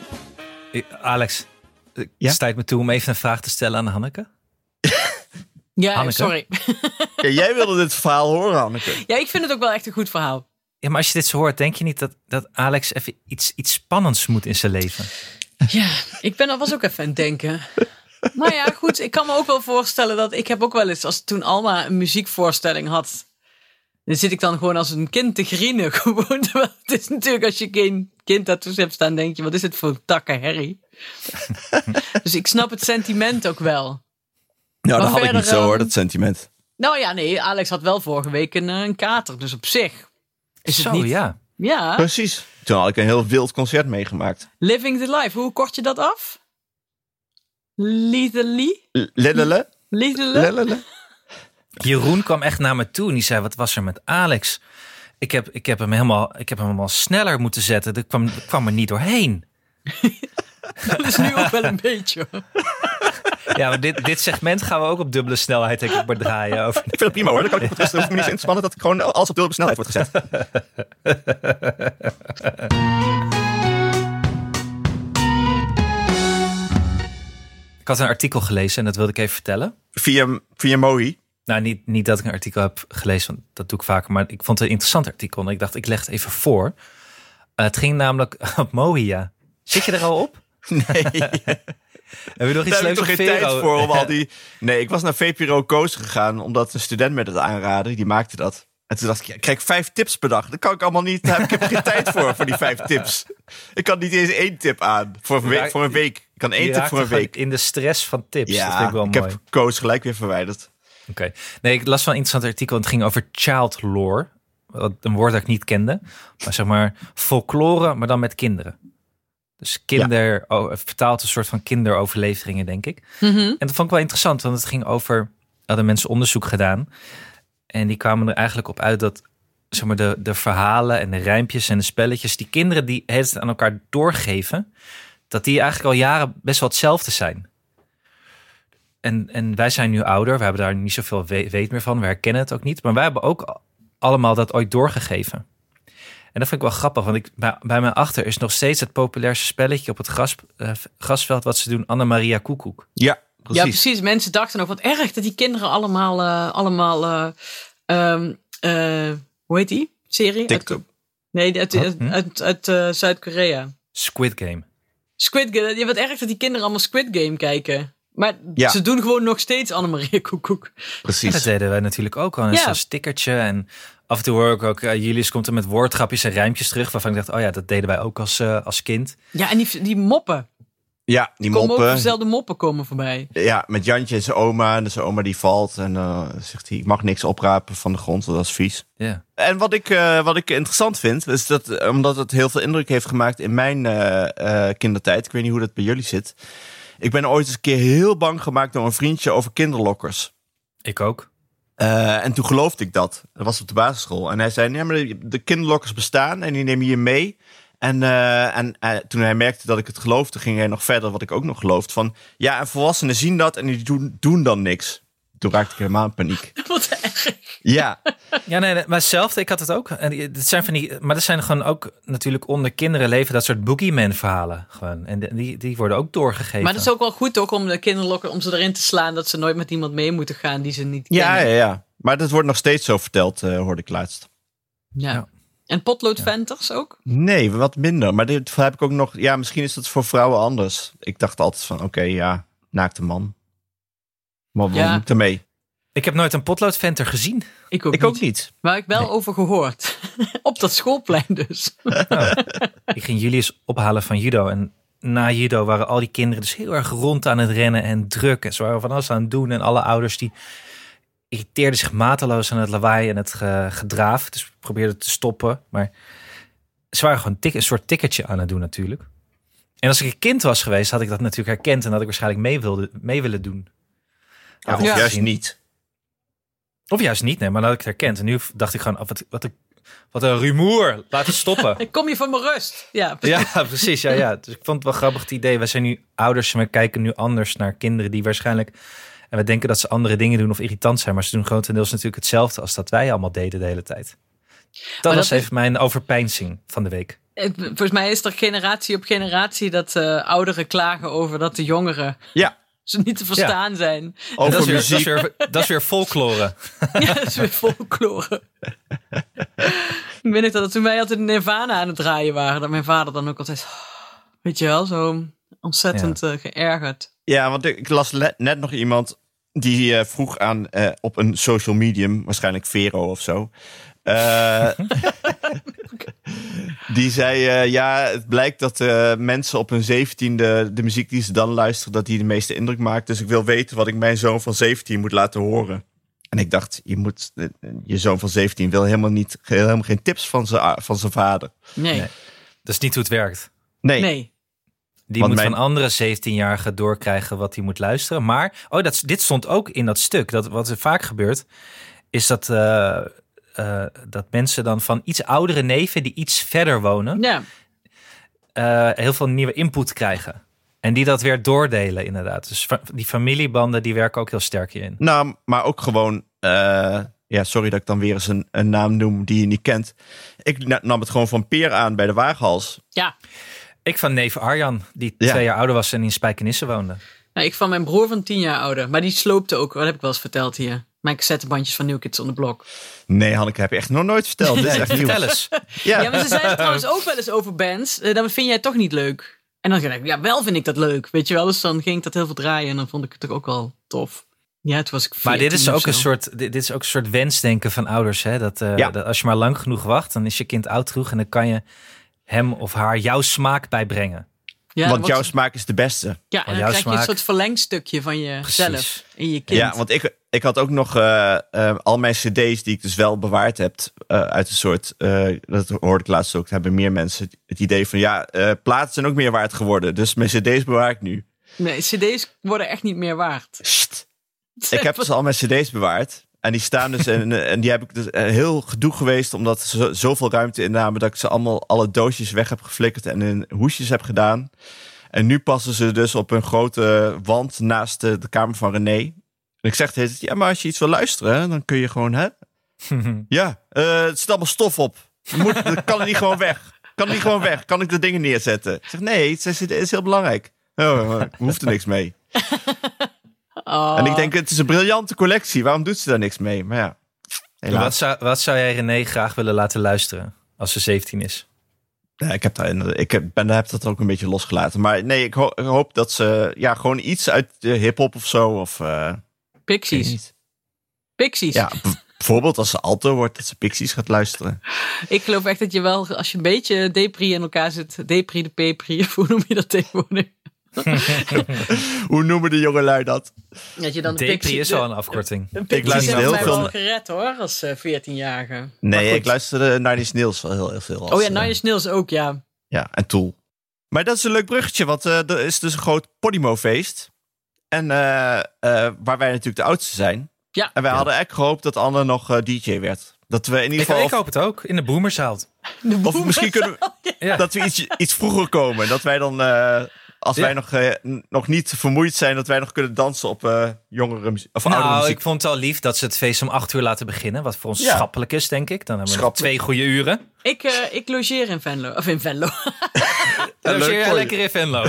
F: Ik- Alex, ik
D: Ja?
F: stuit me toe om even een vraag te stellen aan Hanneke.
E: ja
F: Hanneke?
E: sorry.
D: Ja, jij wilde dit verhaal horen, Anneke.
E: Ja, ik vind het ook wel echt een goed verhaal.
F: Ja, maar als je dit zo hoort, denk je niet dat, dat Alex even iets, iets spannends moet in zijn leven?
E: Ja, ik ben, was ook even aan het denken. Maar ja, goed, ik kan me ook wel voorstellen dat ik heb ook wel eens, als toen Alma een muziekvoorstelling had, dan zit ik dan gewoon als een kind te grienen. (laughs) Gewoon, terwijl het is natuurlijk als je geen kind daartussen hebt staan, denk je, wat is dit voor een takken herrie? dus ik snap het sentiment ook wel.
D: Nou,
E: Maar verder, ehm,
D: sentiment.
E: Nou ja, nee, Alex had wel vorige week een, eh, een kater, dus op zich. Is het
F: zo,
E: niet?
F: ja.
E: Ja,
D: Precies. Toen had ik een heel wild concert meegemaakt.
E: living the life. Hoe kort je dat af? Lethally?
D: L- Lillele,
E: Lethally?
D: lillele.
F: Jeroen kwam echt naar me toe en die zei: Wat was er met Alex? Ik heb, ik heb, hem, helemaal, ik heb hem helemaal sneller moeten zetten. Dat kwam, dat kwam er niet doorheen.
E: Dat is nu ook wel een beetje. hoor.
F: Ja, maar dit, dit segment gaan we ook op dubbele snelheid denk ik, maar draaien. Over.
D: Ik vind het prima hoor. Dan kan ik het rustig hoef ik me dus niet zo in te spannen dat ik gewoon alles op dubbele snelheid wordt gezet.
F: Ik had een artikel gelezen en dat wilde ik even vertellen.
D: (laughs) Via, via Mohi.
F: Nou, niet, niet dat ik een artikel heb gelezen, want dat doe ik vaker. Maar ik vond het een interessant artikel en ik dacht, ik leg het even voor. Eh, het ging namelijk (laughs) op Mohia. Zit je er al op?
D: Nee, (laughs)
F: Hebben we nog iets
D: daar heb ik
F: leuks
D: toch geen
F: op
D: tijd
F: Vero?
D: voor om al (laughs) die... Nee, ik was naar VPRO Koos gegaan omdat een student me dat aanraadde. Die maakte dat. En toen dacht ik, ja, ik krijg vijf tips per dag. Dat kan ik allemaal niet. Daar heb ik heb er geen tijd voor, voor die vijf tips. Ik kan niet eens één tip aan voor een week. Voor een week. Ik kan één
F: Je
D: tip
F: raakte
D: voor een
F: gewoon
D: week.
F: In de stress van tips. dat vind
D: Ja,
F: ik wel
D: ik
F: mooi.
D: heb Koos gelijk weer verwijderd.
F: Oké. Nee, ik las wel een interessant artikel. en Het ging over child lore. Wat een woord dat ik niet kende. Maar zeg maar folklore, maar dan met kinderen. Dus kinder, oh, het vertaalt een soort van kinderoverleveringen, denk ik. En dat vond ik wel interessant, want het ging over... Hadden mensen onderzoek gedaan. En die kwamen er eigenlijk op uit dat... Zeg maar, de, de verhalen en de rijmpjes en de spelletjes... die kinderen die het aan elkaar doorgeven... dat die eigenlijk al jaren best wel hetzelfde zijn en, en wij zijn nu ouder, we hebben daar niet zoveel we- weet meer van, we herkennen het ook niet. Maar wij hebben ook a- allemaal dat ooit doorgegeven. En dat vind ik wel grappig, want ik, bij, bij mijn achter is nog steeds het populairste spelletje op het gras, eh, grasveld wat ze doen, Anna-Maria Koekoek.
D: Ja, precies.
E: Ja, precies. Mensen dachten ook wat erg dat die kinderen allemaal, eh, allemaal eh, ehm, eh, hoe heet die serie?
D: TikTok.
E: Uit- nee, uit, uit,
F: Hm?
E: uit, uit, eh, Zuid-Korea.
F: Squid Game.
E: Squid Game. Ja, wat erg dat die kinderen allemaal Squid Game kijken. Maar
D: Ja.
E: ze doen gewoon nog steeds Annemarie Koekoek.
F: En
D: precies.
F: dat deden wij natuurlijk ook al. En
E: Ja.
F: Zo'n stickertje en af en toe hoor ik ook, eh, Julius komt er met woordgrapjes en rijmpjes terug, waarvan ik dacht, oh ja, dat deden wij ook als, eh, als kind.
E: Ja, en die, die moppen.
D: Ja, die
E: Komen ook
D: moppen.
E: dezelfde moppen komen voorbij. (laughs)
D: Ja, met Jantje en zijn oma. En zijn oma die valt. En eh, zegt hij, ik mag niks oprapen van de grond, want dat is vies.
F: Ja.
D: En wat ik, eh, wat ik interessant vind, is dat, eh, omdat het heel veel indruk heeft gemaakt in mijn eh, eh, kindertijd. Ik weet niet hoe dat bij jullie zit. Ik ben ooit eens een keer heel bang gemaakt door een vriendje over kinderlokkers.
F: Ik ook.
D: Eh, en toen geloofde ik dat. Dat was op de basisschool. En hij zei, nee, maar de- de kinderlokkers bestaan en die nemen je mee. En, eh, en eh, toen hij merkte dat ik het geloofde, ging hij nog verder, wat ik ook nog geloofde. Van, ja, en volwassenen zien dat en die doen, doen dan niks. Toen raakte ik helemaal in paniek.
E: Wat erg.
D: Ja,
F: Ja, nee, nee, maar zelfde, ik had het ook. En die- dit zijn van die, maar dat zijn gewoon ook natuurlijk onder kinderen leven dat soort boogeyman verhalen. Gewoon. En de- die, die worden ook doorgegeven.
E: Maar dat is ook wel goed toch om de kinderlokken om ze erin te slaan dat ze nooit met iemand mee moeten gaan die ze niet
D: ja, ja,
E: kennen.
D: ja. Maar dat wordt nog steeds zo verteld, eh, hoorde ik laatst.
E: Ja.
F: Ja.
E: En potloodventers ook?
D: Nee, wat minder. Maar dit heb ik ook nog. Ja, misschien is dat voor vrouwen anders. Ik dacht altijd van, oké, ja, naakte man. Maar wat
E: Ja.
D: moet ik ermee?
F: Ik heb nooit een potloodventer gezien.
E: Ik ook,
D: Ik
E: niet.
D: ook niet.
E: Waar ik wel over gehoord. (laughs) Op dat schoolplein dus.
F: Ik ging Julius ophalen van judo. En na judo waren al die kinderen dus heel erg rond aan het rennen en druk. En ze waren van alles aan het doen. En alle ouders die irriteerden zich mateloos aan het lawaai en het ge- gedraaf. Dus we probeerden te stoppen. Maar ze waren gewoon tik- een soort ticketje aan het doen natuurlijk. En als ik een kind was geweest, had ik dat natuurlijk herkend. En had ik waarschijnlijk mee, wilde, mee willen doen.
D: Ja, of
E: Ja.
D: juist niet.
F: Of juist niet, nee. Maar dat had ik het herkend. En nu dacht ik gewoon, oh, wat, wat, een- wat een rumoer. Laat het stoppen. (laughs)
E: Ik kom je voor mijn rust. Ja, precies.
F: Ja, (laughs) precies. Ja, ja. Dus ik vond het wel grappig het idee. We zijn nu ouders en we kijken nu anders naar kinderen die waarschijnlijk. En we denken dat ze andere dingen doen of irritant zijn. Maar ze doen grotendeels natuurlijk hetzelfde als dat wij allemaal deden de hele tijd. Dat
E: dat
F: was
E: is-
F: even mijn overpeinzing van de week.
E: Het- volgens mij is er generatie op generatie dat eh, ouderen klagen over dat de jongeren
D: Ja,
E: ze niet te verstaan zijn.
F: En dat,
D: over
F: is weer, dat,
D: muziek.
F: is weer, dat is weer folklore.
E: Ja, dat is weer folklore. ik weet nog dat toen wij altijd Nirvana aan het draaien waren, dat mijn vader dan ook altijd, weet je wel, zo ontzettend eh, geërgerd.
D: Ja, want ik ik las le- net nog iemand die eh, vroeg aan eh, op een social medium, waarschijnlijk Vero of zo. eh, (laughs) die zei: eh, Ja, het blijkt dat eh, mensen op hun zeventiende de muziek die ze dan luisteren, dat die de meeste indruk maakt. Dus ik wil weten wat ik mijn zoon van 17 moet laten horen. En ik dacht, je, moet, eh, je zoon van 17 wil helemaal, niet, ge- helemaal geen tips van zijn a- van zijn vader.
E: Nee,
F: Nee.
E: nee.
F: (laughs) Dat is niet hoe het werkt.
D: Nee,
F: Die
D: Want
F: moet
D: mijn-
F: van andere 17-jarigen doorkrijgen wat hij moet luisteren. Maar, oh, dat, dit stond ook in dat stuk. Dat, wat er vaak gebeurt, is dat, eh, eh, dat mensen dan van iets oudere neven die iets verder wonen,
E: Ja,
F: eh, heel veel nieuwe input krijgen. En die dat weer doordelen, inderdaad. Dus fa- die familiebanden die werken ook heel sterk hierin.
D: Nou, maar ook gewoon. eh, ja, sorry dat ik dan weer eens een, een naam noem die je niet kent. Ik na- nam het gewoon van Peer aan bij de waaghals.
E: ja.
F: Ik van neef Arjan, die
D: Ja.
F: twee jaar ouder was en in Spijkenisse woonde.
E: Nou, ik van mijn broer van tien jaar ouder, maar die sloopte ook, wat heb ik wel eens verteld hier, mijn cassettebandjes van New Kids on the Block.
D: Nee, Hanneke, heb je echt nog nooit verteld. Dit is echt nieuws.
E: (laughs)
F: Vertel eens.
D: Ja,
E: Ja, maar ze zeiden trouwens ook wel eens over bands. eh, Dat vind jij toch niet leuk. En dan dacht ik, ja, wel vind ik dat leuk. Weet je wel, dus dan ging ik dat heel veel draaien. En dan vond ik het toch ook wel tof. Ja, het was ik
F: Maar dit
E: 14
F: is,
E: of
F: ook
E: zo.
F: een soort, dit, dit is ook een soort wensdenken van ouders. Hè? Dat, eh,
D: Ja.
F: dat als je maar lang genoeg wacht, dan is je kind oud genoeg en dan kan je hem of haar jouw smaak bijbrengen.
E: Ja, dan
D: want
E: wordt-
D: jouw smaak is de beste.
E: ja, en dan
F: jouw
E: krijg je
F: smaak-
E: een soort verlengstukje van jezelf
F: Precies.
E: in je kind.
D: Ja, want ik, ik had ook nog eh, eh, al mijn cd's die ik dus wel bewaard heb. eh, uit een soort, eh, dat hoorde ik laatst ook, dat hebben meer mensen het idee van... Ja, eh platen zijn ook meer waard geworden. Dus mijn cd's bewaar ik nu.
E: Nee, cd's worden echt niet meer waard.
D: Sst. Ik heb dus al mijn cd's bewaard. En die staan dus en, (laughs) en die heb ik dus eh, heel gedoe geweest omdat ze zo- zoveel ruimte innamen dat ik ze allemaal alle doosjes weg heb geflikkerd en in hoesjes heb gedaan. En nu passen ze dus op een grote wand naast de, de kamer van René. En ik zeg tegen hem, ja, maar als je iets wil luisteren, hè, dan kun je gewoon, hè? ja, eh, het zit allemaal stof op. Moet, dat kan het niet gewoon weg? Kan het niet gewoon weg? Kan ik de dingen neerzetten? Ik zeg, nee, het is, het is heel belangrijk. Oh, ik hoef er niks mee.
E: Oh.
D: En ik denk, het is een briljante collectie. Waarom doet ze daar niks mee? Maar ja,
F: Wat
D: helaas.
F: zou, wat zou jij René graag willen laten luisteren als ze 17 is?
D: Ja, ik heb, daar, inderdaad- ik heb, ben, heb dat ook een beetje losgelaten. Maar nee, ik, ho- ik hoop dat ze ja, gewoon iets uit de hip-hop of zo. Of, eh, weet
E: Pixies.
D: niet.
E: Pixies. (laughs)
D: Ja, b- bijvoorbeeld als ze alto wordt, dat ze Pixies gaat luisteren.
E: Ik geloof echt dat je wel, als je een beetje depri in elkaar zit, depri de pepri, (laughs) of hoe noem je dat tegenwoordig?
D: Hoe noemen de jongelui dat?
E: Dat je dan de
F: Depri
E: Pixies-
F: is al een afkorting.
E: Een
D: Ik
E: Pixies
D: luister
E: heeft mij
D: heel veel
E: wel
D: naar-
E: gered hoor, als eh, 14-jarige. Maar
D: Nee,
E: goed.
D: ik luisterde naar die Snails wel heel, heel veel. als,
E: Oh ja,
D: eh,
E: Nine Inch Nails ook, ja.
D: Ja, en Tool. Maar dat is een leuk bruggetje, want eh, er is dus een groot Podimo-feest. En eh, eh, waar wij natuurlijk de oudste zijn.
E: Ja.
D: En wij hadden echt gehoopt dat Anne nog eh, DJ werd. Dat we in
F: Ik,
D: ieder geval.
F: ik hoop het ook. In de boomerzaal.
D: of misschien kunnen we,
F: Ja.
D: dat we iets, iets vroeger komen. Dat wij dan, eh, als
F: Ja.
D: wij nog, eh, n- nog niet vermoeid zijn, dat wij nog kunnen dansen op eh jongere muziek. Of oudere
F: Nou,
D: muziek.
F: ik vond het al lief dat ze het feest om acht uur laten beginnen. Wat voor ons
D: Ja.
F: schappelijk is, denk ik. Dan hebben we nog
D: Schappelijk.
F: twee goede uren.
E: Ik, eh, ik logeer in Venlo. Of in Venlo. (laughs)
F: Dan
D: leuk
F: zit
D: voor
F: je
D: je.
F: lekker in
D: (laughs)
F: Venlo.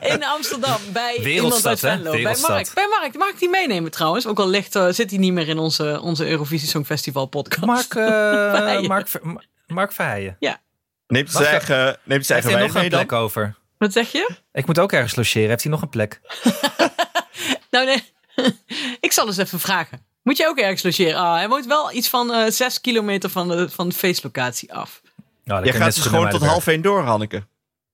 E: In Amsterdam. Bij iemand
F: Wereldstad,
E: uit
F: hè?
E: Venlo. Bij
F: Wereldstad.
E: Mark. Bij Mark. Mag ik die meenemen trouwens? Ook al ligt, eh, zit hij niet meer in onze, onze Eurovisie Songfestival podcast.
F: Mark, eh,
E: Verheijen.
F: Mark, Ver- Ma- Mark Verheijen.
D: Neemt zijn
F: Wacht,
D: eigen, neemt zijn
F: Heeft
D: eigen
F: hij
D: wijn
F: nog een
D: mee dan?
F: plek over?
E: Wat zeg je?
F: Ik moet ook ergens logeren. Heeft hij nog een plek?
E: Nou, nee. (laughs) ik zal eens even vragen. Moet je ook ergens logeren? Ah, hij woont wel iets van eh zes kilometer van de, van de feestlocatie af.
F: Nou,
D: Jij gaat dus gewoon tot half één door, Hanneke.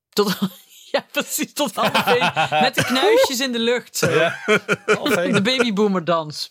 E: Tot, (laughs) ja, precies. Tot half één. Met de knuisjes in de lucht. Zo. De babyboomerdans.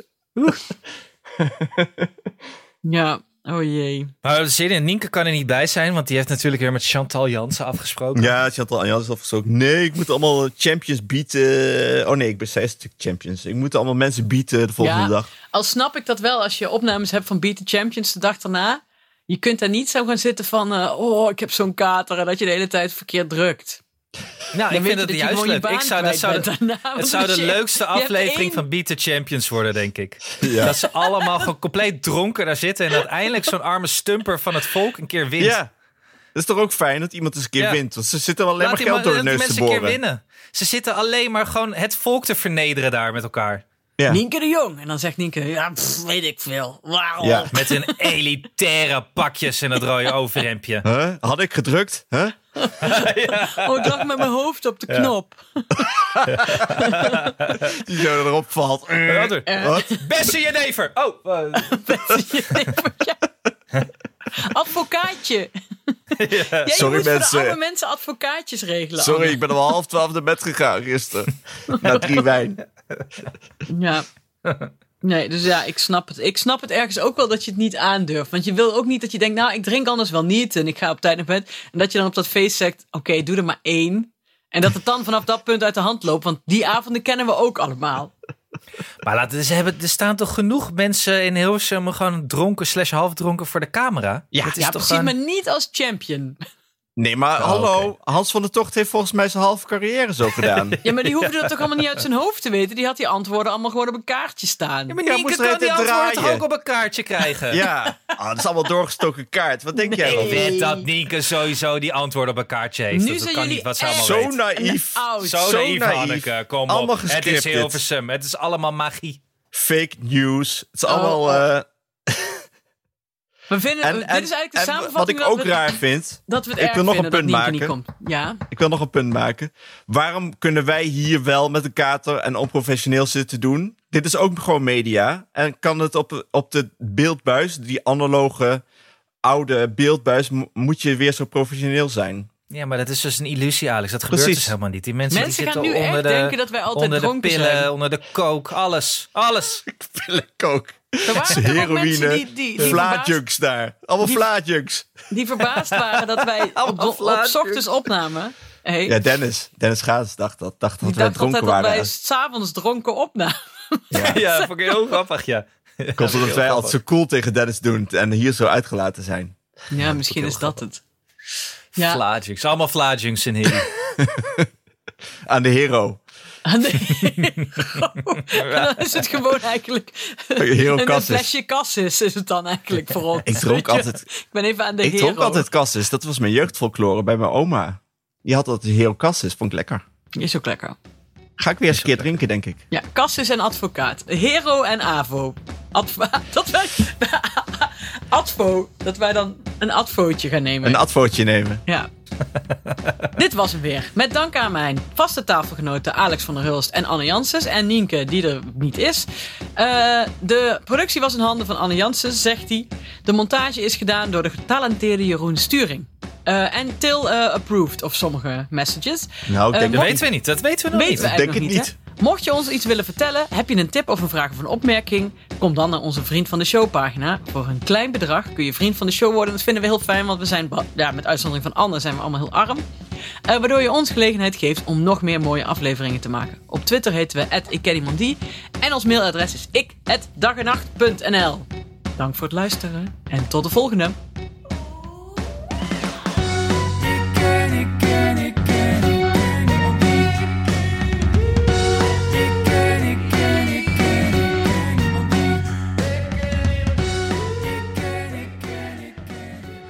E: ja, oh jee.
F: Nou, Zin in Nienke kan er niet bij zijn, want die heeft natuurlijk weer met Chantal Jansen afgesproken.
D: Ja, Chantal Jans had afgesproken. Nee, ik moet allemaal champions bieden. Oh nee, ik ben zij is natuurlijk champions. Ik moet allemaal mensen bieden de volgende
E: Ja,
D: dag.
E: al snap ik dat wel als je opnames hebt van Beat the Champions de dag daarna. Je kunt daar niet zo gaan zitten van, eh, oh, ik heb zo'n kater. En dat je de hele tijd verkeerd drukt.
F: Nou, ik
E: Dan weet
F: vind
E: je
F: dat
E: dat je
F: juist
E: gewoon je
F: leuk.
E: baan
F: Ik zou, dat
E: kwijt
F: zou,
E: bent
F: de-
E: daarna, want
F: het zou
E: als
F: de
E: je-
F: leukste
E: je hebt
F: aflevering
E: één-
F: van Beat the Champions worden, denk ik. Dat ze allemaal gewoon compleet dronken daar zitten en uiteindelijk zo'n arme stumper van het volk een keer wint.
D: Ja. Dat is toch ook fijn dat iemand eens een keer
F: Ja.
D: wint. Want ze zitten wel alleen
F: Laat
D: maar
F: die
D: geld
F: ma-
D: door de
F: laat die
D: neus te
F: mensen een keer
D: boren.
F: winnen. Ze zitten alleen maar gewoon het volk te vernederen daar met elkaar.
D: Ja.
E: Nienke de Jong. En dan zegt Nienke, ja, pff, weet ik veel. Waarom?
D: Ja. (laughs)
F: Met hun elitaire pakjes en dat rode overhemdje.
D: Huh? Had ik gedrukt? Huh?
E: Oh, ik lag met mijn hoofd op de knop.
D: Die zo erop valt.
F: Brother.
D: Wat?
F: Beste jenever! Oh, eh,
E: Ja. (laughs) Advocaatje. Jij
D: Sorry,
E: moet
D: mensen.
E: voor de arme mensen advocaatjes regelen.
D: Sorry, ik ben om half twaalf naar bed gegaan
F: (laughs)
D: gisteren. Na drie wijn.
E: Anne. Ja. Nee, dus ja, ik snap het. Ik snap het ergens ook wel dat je het niet aandurft. Want je wil ook niet dat je denkt, nou, ik drink anders wel niet en ik ga op tijd naar bed. En dat je dan op dat feest zegt, oké, doe er maar één. En dat het dan vanaf dat punt uit de hand loopt. Want die avonden kennen we ook allemaal.
F: Maar laten, ze hebben, er staan toch genoeg mensen in Hilversum gewoon dronken slash halfdronken voor de camera?
E: Ja,
F: Dat is
E: ja precies,
F: toch gewoon-
E: maar niet als champion.
D: Nee, maar
E: Ah,
F: Oh,
D: hallo. Hans van der Tocht heeft volgens mij zijn halve carrière zo
F: (laughs)
D: gedaan.
E: (laughs) Ja, maar die hoefde dat toch allemaal niet uit zijn hoofd te weten. Die had die antwoorden allemaal gewoon op een kaartje staan.
F: Ja, maar
D: Ja,
F: Nienke
D: moest er
F: kan
D: het
F: die antwoorden toch
D: draaien?
F: ook op een kaartje
D: (laughs)
F: krijgen?
D: ja. Ah, dat is allemaal doorgestoken kaart. Wat denk jij
F: Ik
D: wel?
F: weet dat Nienke sowieso die antwoorden op een kaartje heeft.
E: Nu
F: dat dat
E: zijn
F: kan
E: jullie
F: niet wat ze
E: echt
F: allemaal
D: Zo
F: weet.
D: naïef.
E: Oud.
F: Zo,
D: zo
F: naïef,
D: naïef.
F: Hanneke. Kom
D: Allemaal
F: op. Het is
D: gescript dit.
F: Hilversum. Het is allemaal magie.
D: Fake news. Het is
E: Oh,
D: allemaal... eh,
E: We vinden,
D: En,
E: dit
D: en-
E: is eigenlijk de
D: en Wat
E: samenvatting
D: ik ook
E: dat, we,
D: raar vind,
E: dat we het
D: ik
E: erg
D: wil nog een
E: vinden
D: punt
E: dat Nienke
D: maken.
E: niet komt. Ja,
D: ik wil nog een punt maken. Waarom kunnen wij hier wel met een kater en onprofessioneel zitten doen? Dit is ook gewoon media. En kan het op, op de beeldbuis, die analoge oude beeldbuis, mo- moet je weer zo professioneel zijn? (laughs)
F: Ja, maar dat is dus een illusie, Alex. Dat gebeurt
D: Precies.
F: dus helemaal niet. Die mensen,
E: Mensen
F: die
E: gaan
F: zitten
E: nu echt
F: onder de,
E: denken dat wij altijd
F: onder de
E: dronken
F: pillen,
E: zijn.
F: onder de coke, alles. Alles.
D: Kook.
E: er waren toch ook mensen
D: Heroïne,
E: die, die, die, verbaasd,
D: vlaatjunks daar. Allemaal vlaatjunks.
E: die verbaasd waren
D: (laughs)
E: dat wij op, op, op
D: vlaanderen.
E: ochtends opnamen. Hey,
D: Ja, Dennis. Dennis Gaas dacht dat. Dacht dat
E: die
D: wij
E: dacht altijd
D: dronken
E: dat
D: waren.
E: wij s'avonds dronken opnamen.
F: Ja, vond ik heel grappig, ja.
D: Komt omdat wij altijd zo cool tegen Dennis doen en hier zo uitgelaten zijn.
E: Ja, misschien is dat het. Ja.
F: Vlaadjunks. Allemaal vlaadjunks
E: (laughs)
F: in hier.
D: Aan de hero.
E: Ah,
D: (laughs)
E: nee. (laughs) dan is het gewoon eigenlijk
D: Hero
E: een, een
D: Cassis.
E: flesje kassis is het dan eigenlijk voor ons.
D: Ik
E: (laughs)
D: dronk altijd
E: Ik ben even aan de
D: Ik
E: hero.
D: dronk altijd cassis. Dat was mijn jeugdfolklore bij mijn oma. Die had altijd heel cassis. Vond ik lekker.
E: Is ook lekker.
D: Ga ik weer eens een keer drinken, denk ik.
E: Ja, Cassis en advocaat. Hero en Avo. Adva- (laughs) dat wij. Advo. Dat wij dan een advootje gaan nemen.
D: Een advootje nemen. (laughs)
E: ja. Dit was hem weer. Met dank aan mijn vaste tafelgenoten Alex van der Hulst en Anne Janssens. En Nienke, die er niet is. Eh, de productie was in handen van Anne Janssens, zegt hij. De montage is gedaan door de getalenteerde Jeroen Sturing. Eh, en Til eh, approved of sommige messages.
D: Nou, ik
E: Eh,
D: denk
F: Dat
E: mocht-
F: weten we niet. Dat weten we nog
E: Weten
F: niet.
E: we eigenlijk
D: denk
E: nog
D: het
E: niet, hè? Mocht je ons iets willen vertellen, heb je een tip of een vraag of een opmerking, kom dan naar onze Vriend van de Show pagina. Voor een klein bedrag kun je Vriend van de Show worden. Dat vinden we heel fijn, want we zijn, ba- ja, met uitzondering van anderen, zijn we allemaal heel arm. Eh, waardoor je ons gelegenheid geeft om nog meer mooie afleveringen te maken. Op Twitter heten we ikkenniemandie en ons mailadres is ik dagenacht.nl. Dank voor het luisteren en tot de volgende.
G: Ik ken, ik ken, ik ken, ik ken niemand die. Ik ken, ik ken, ik ken, ik ken niemand die. Ik ken, ik ken, ik ken, ik ken niemand die.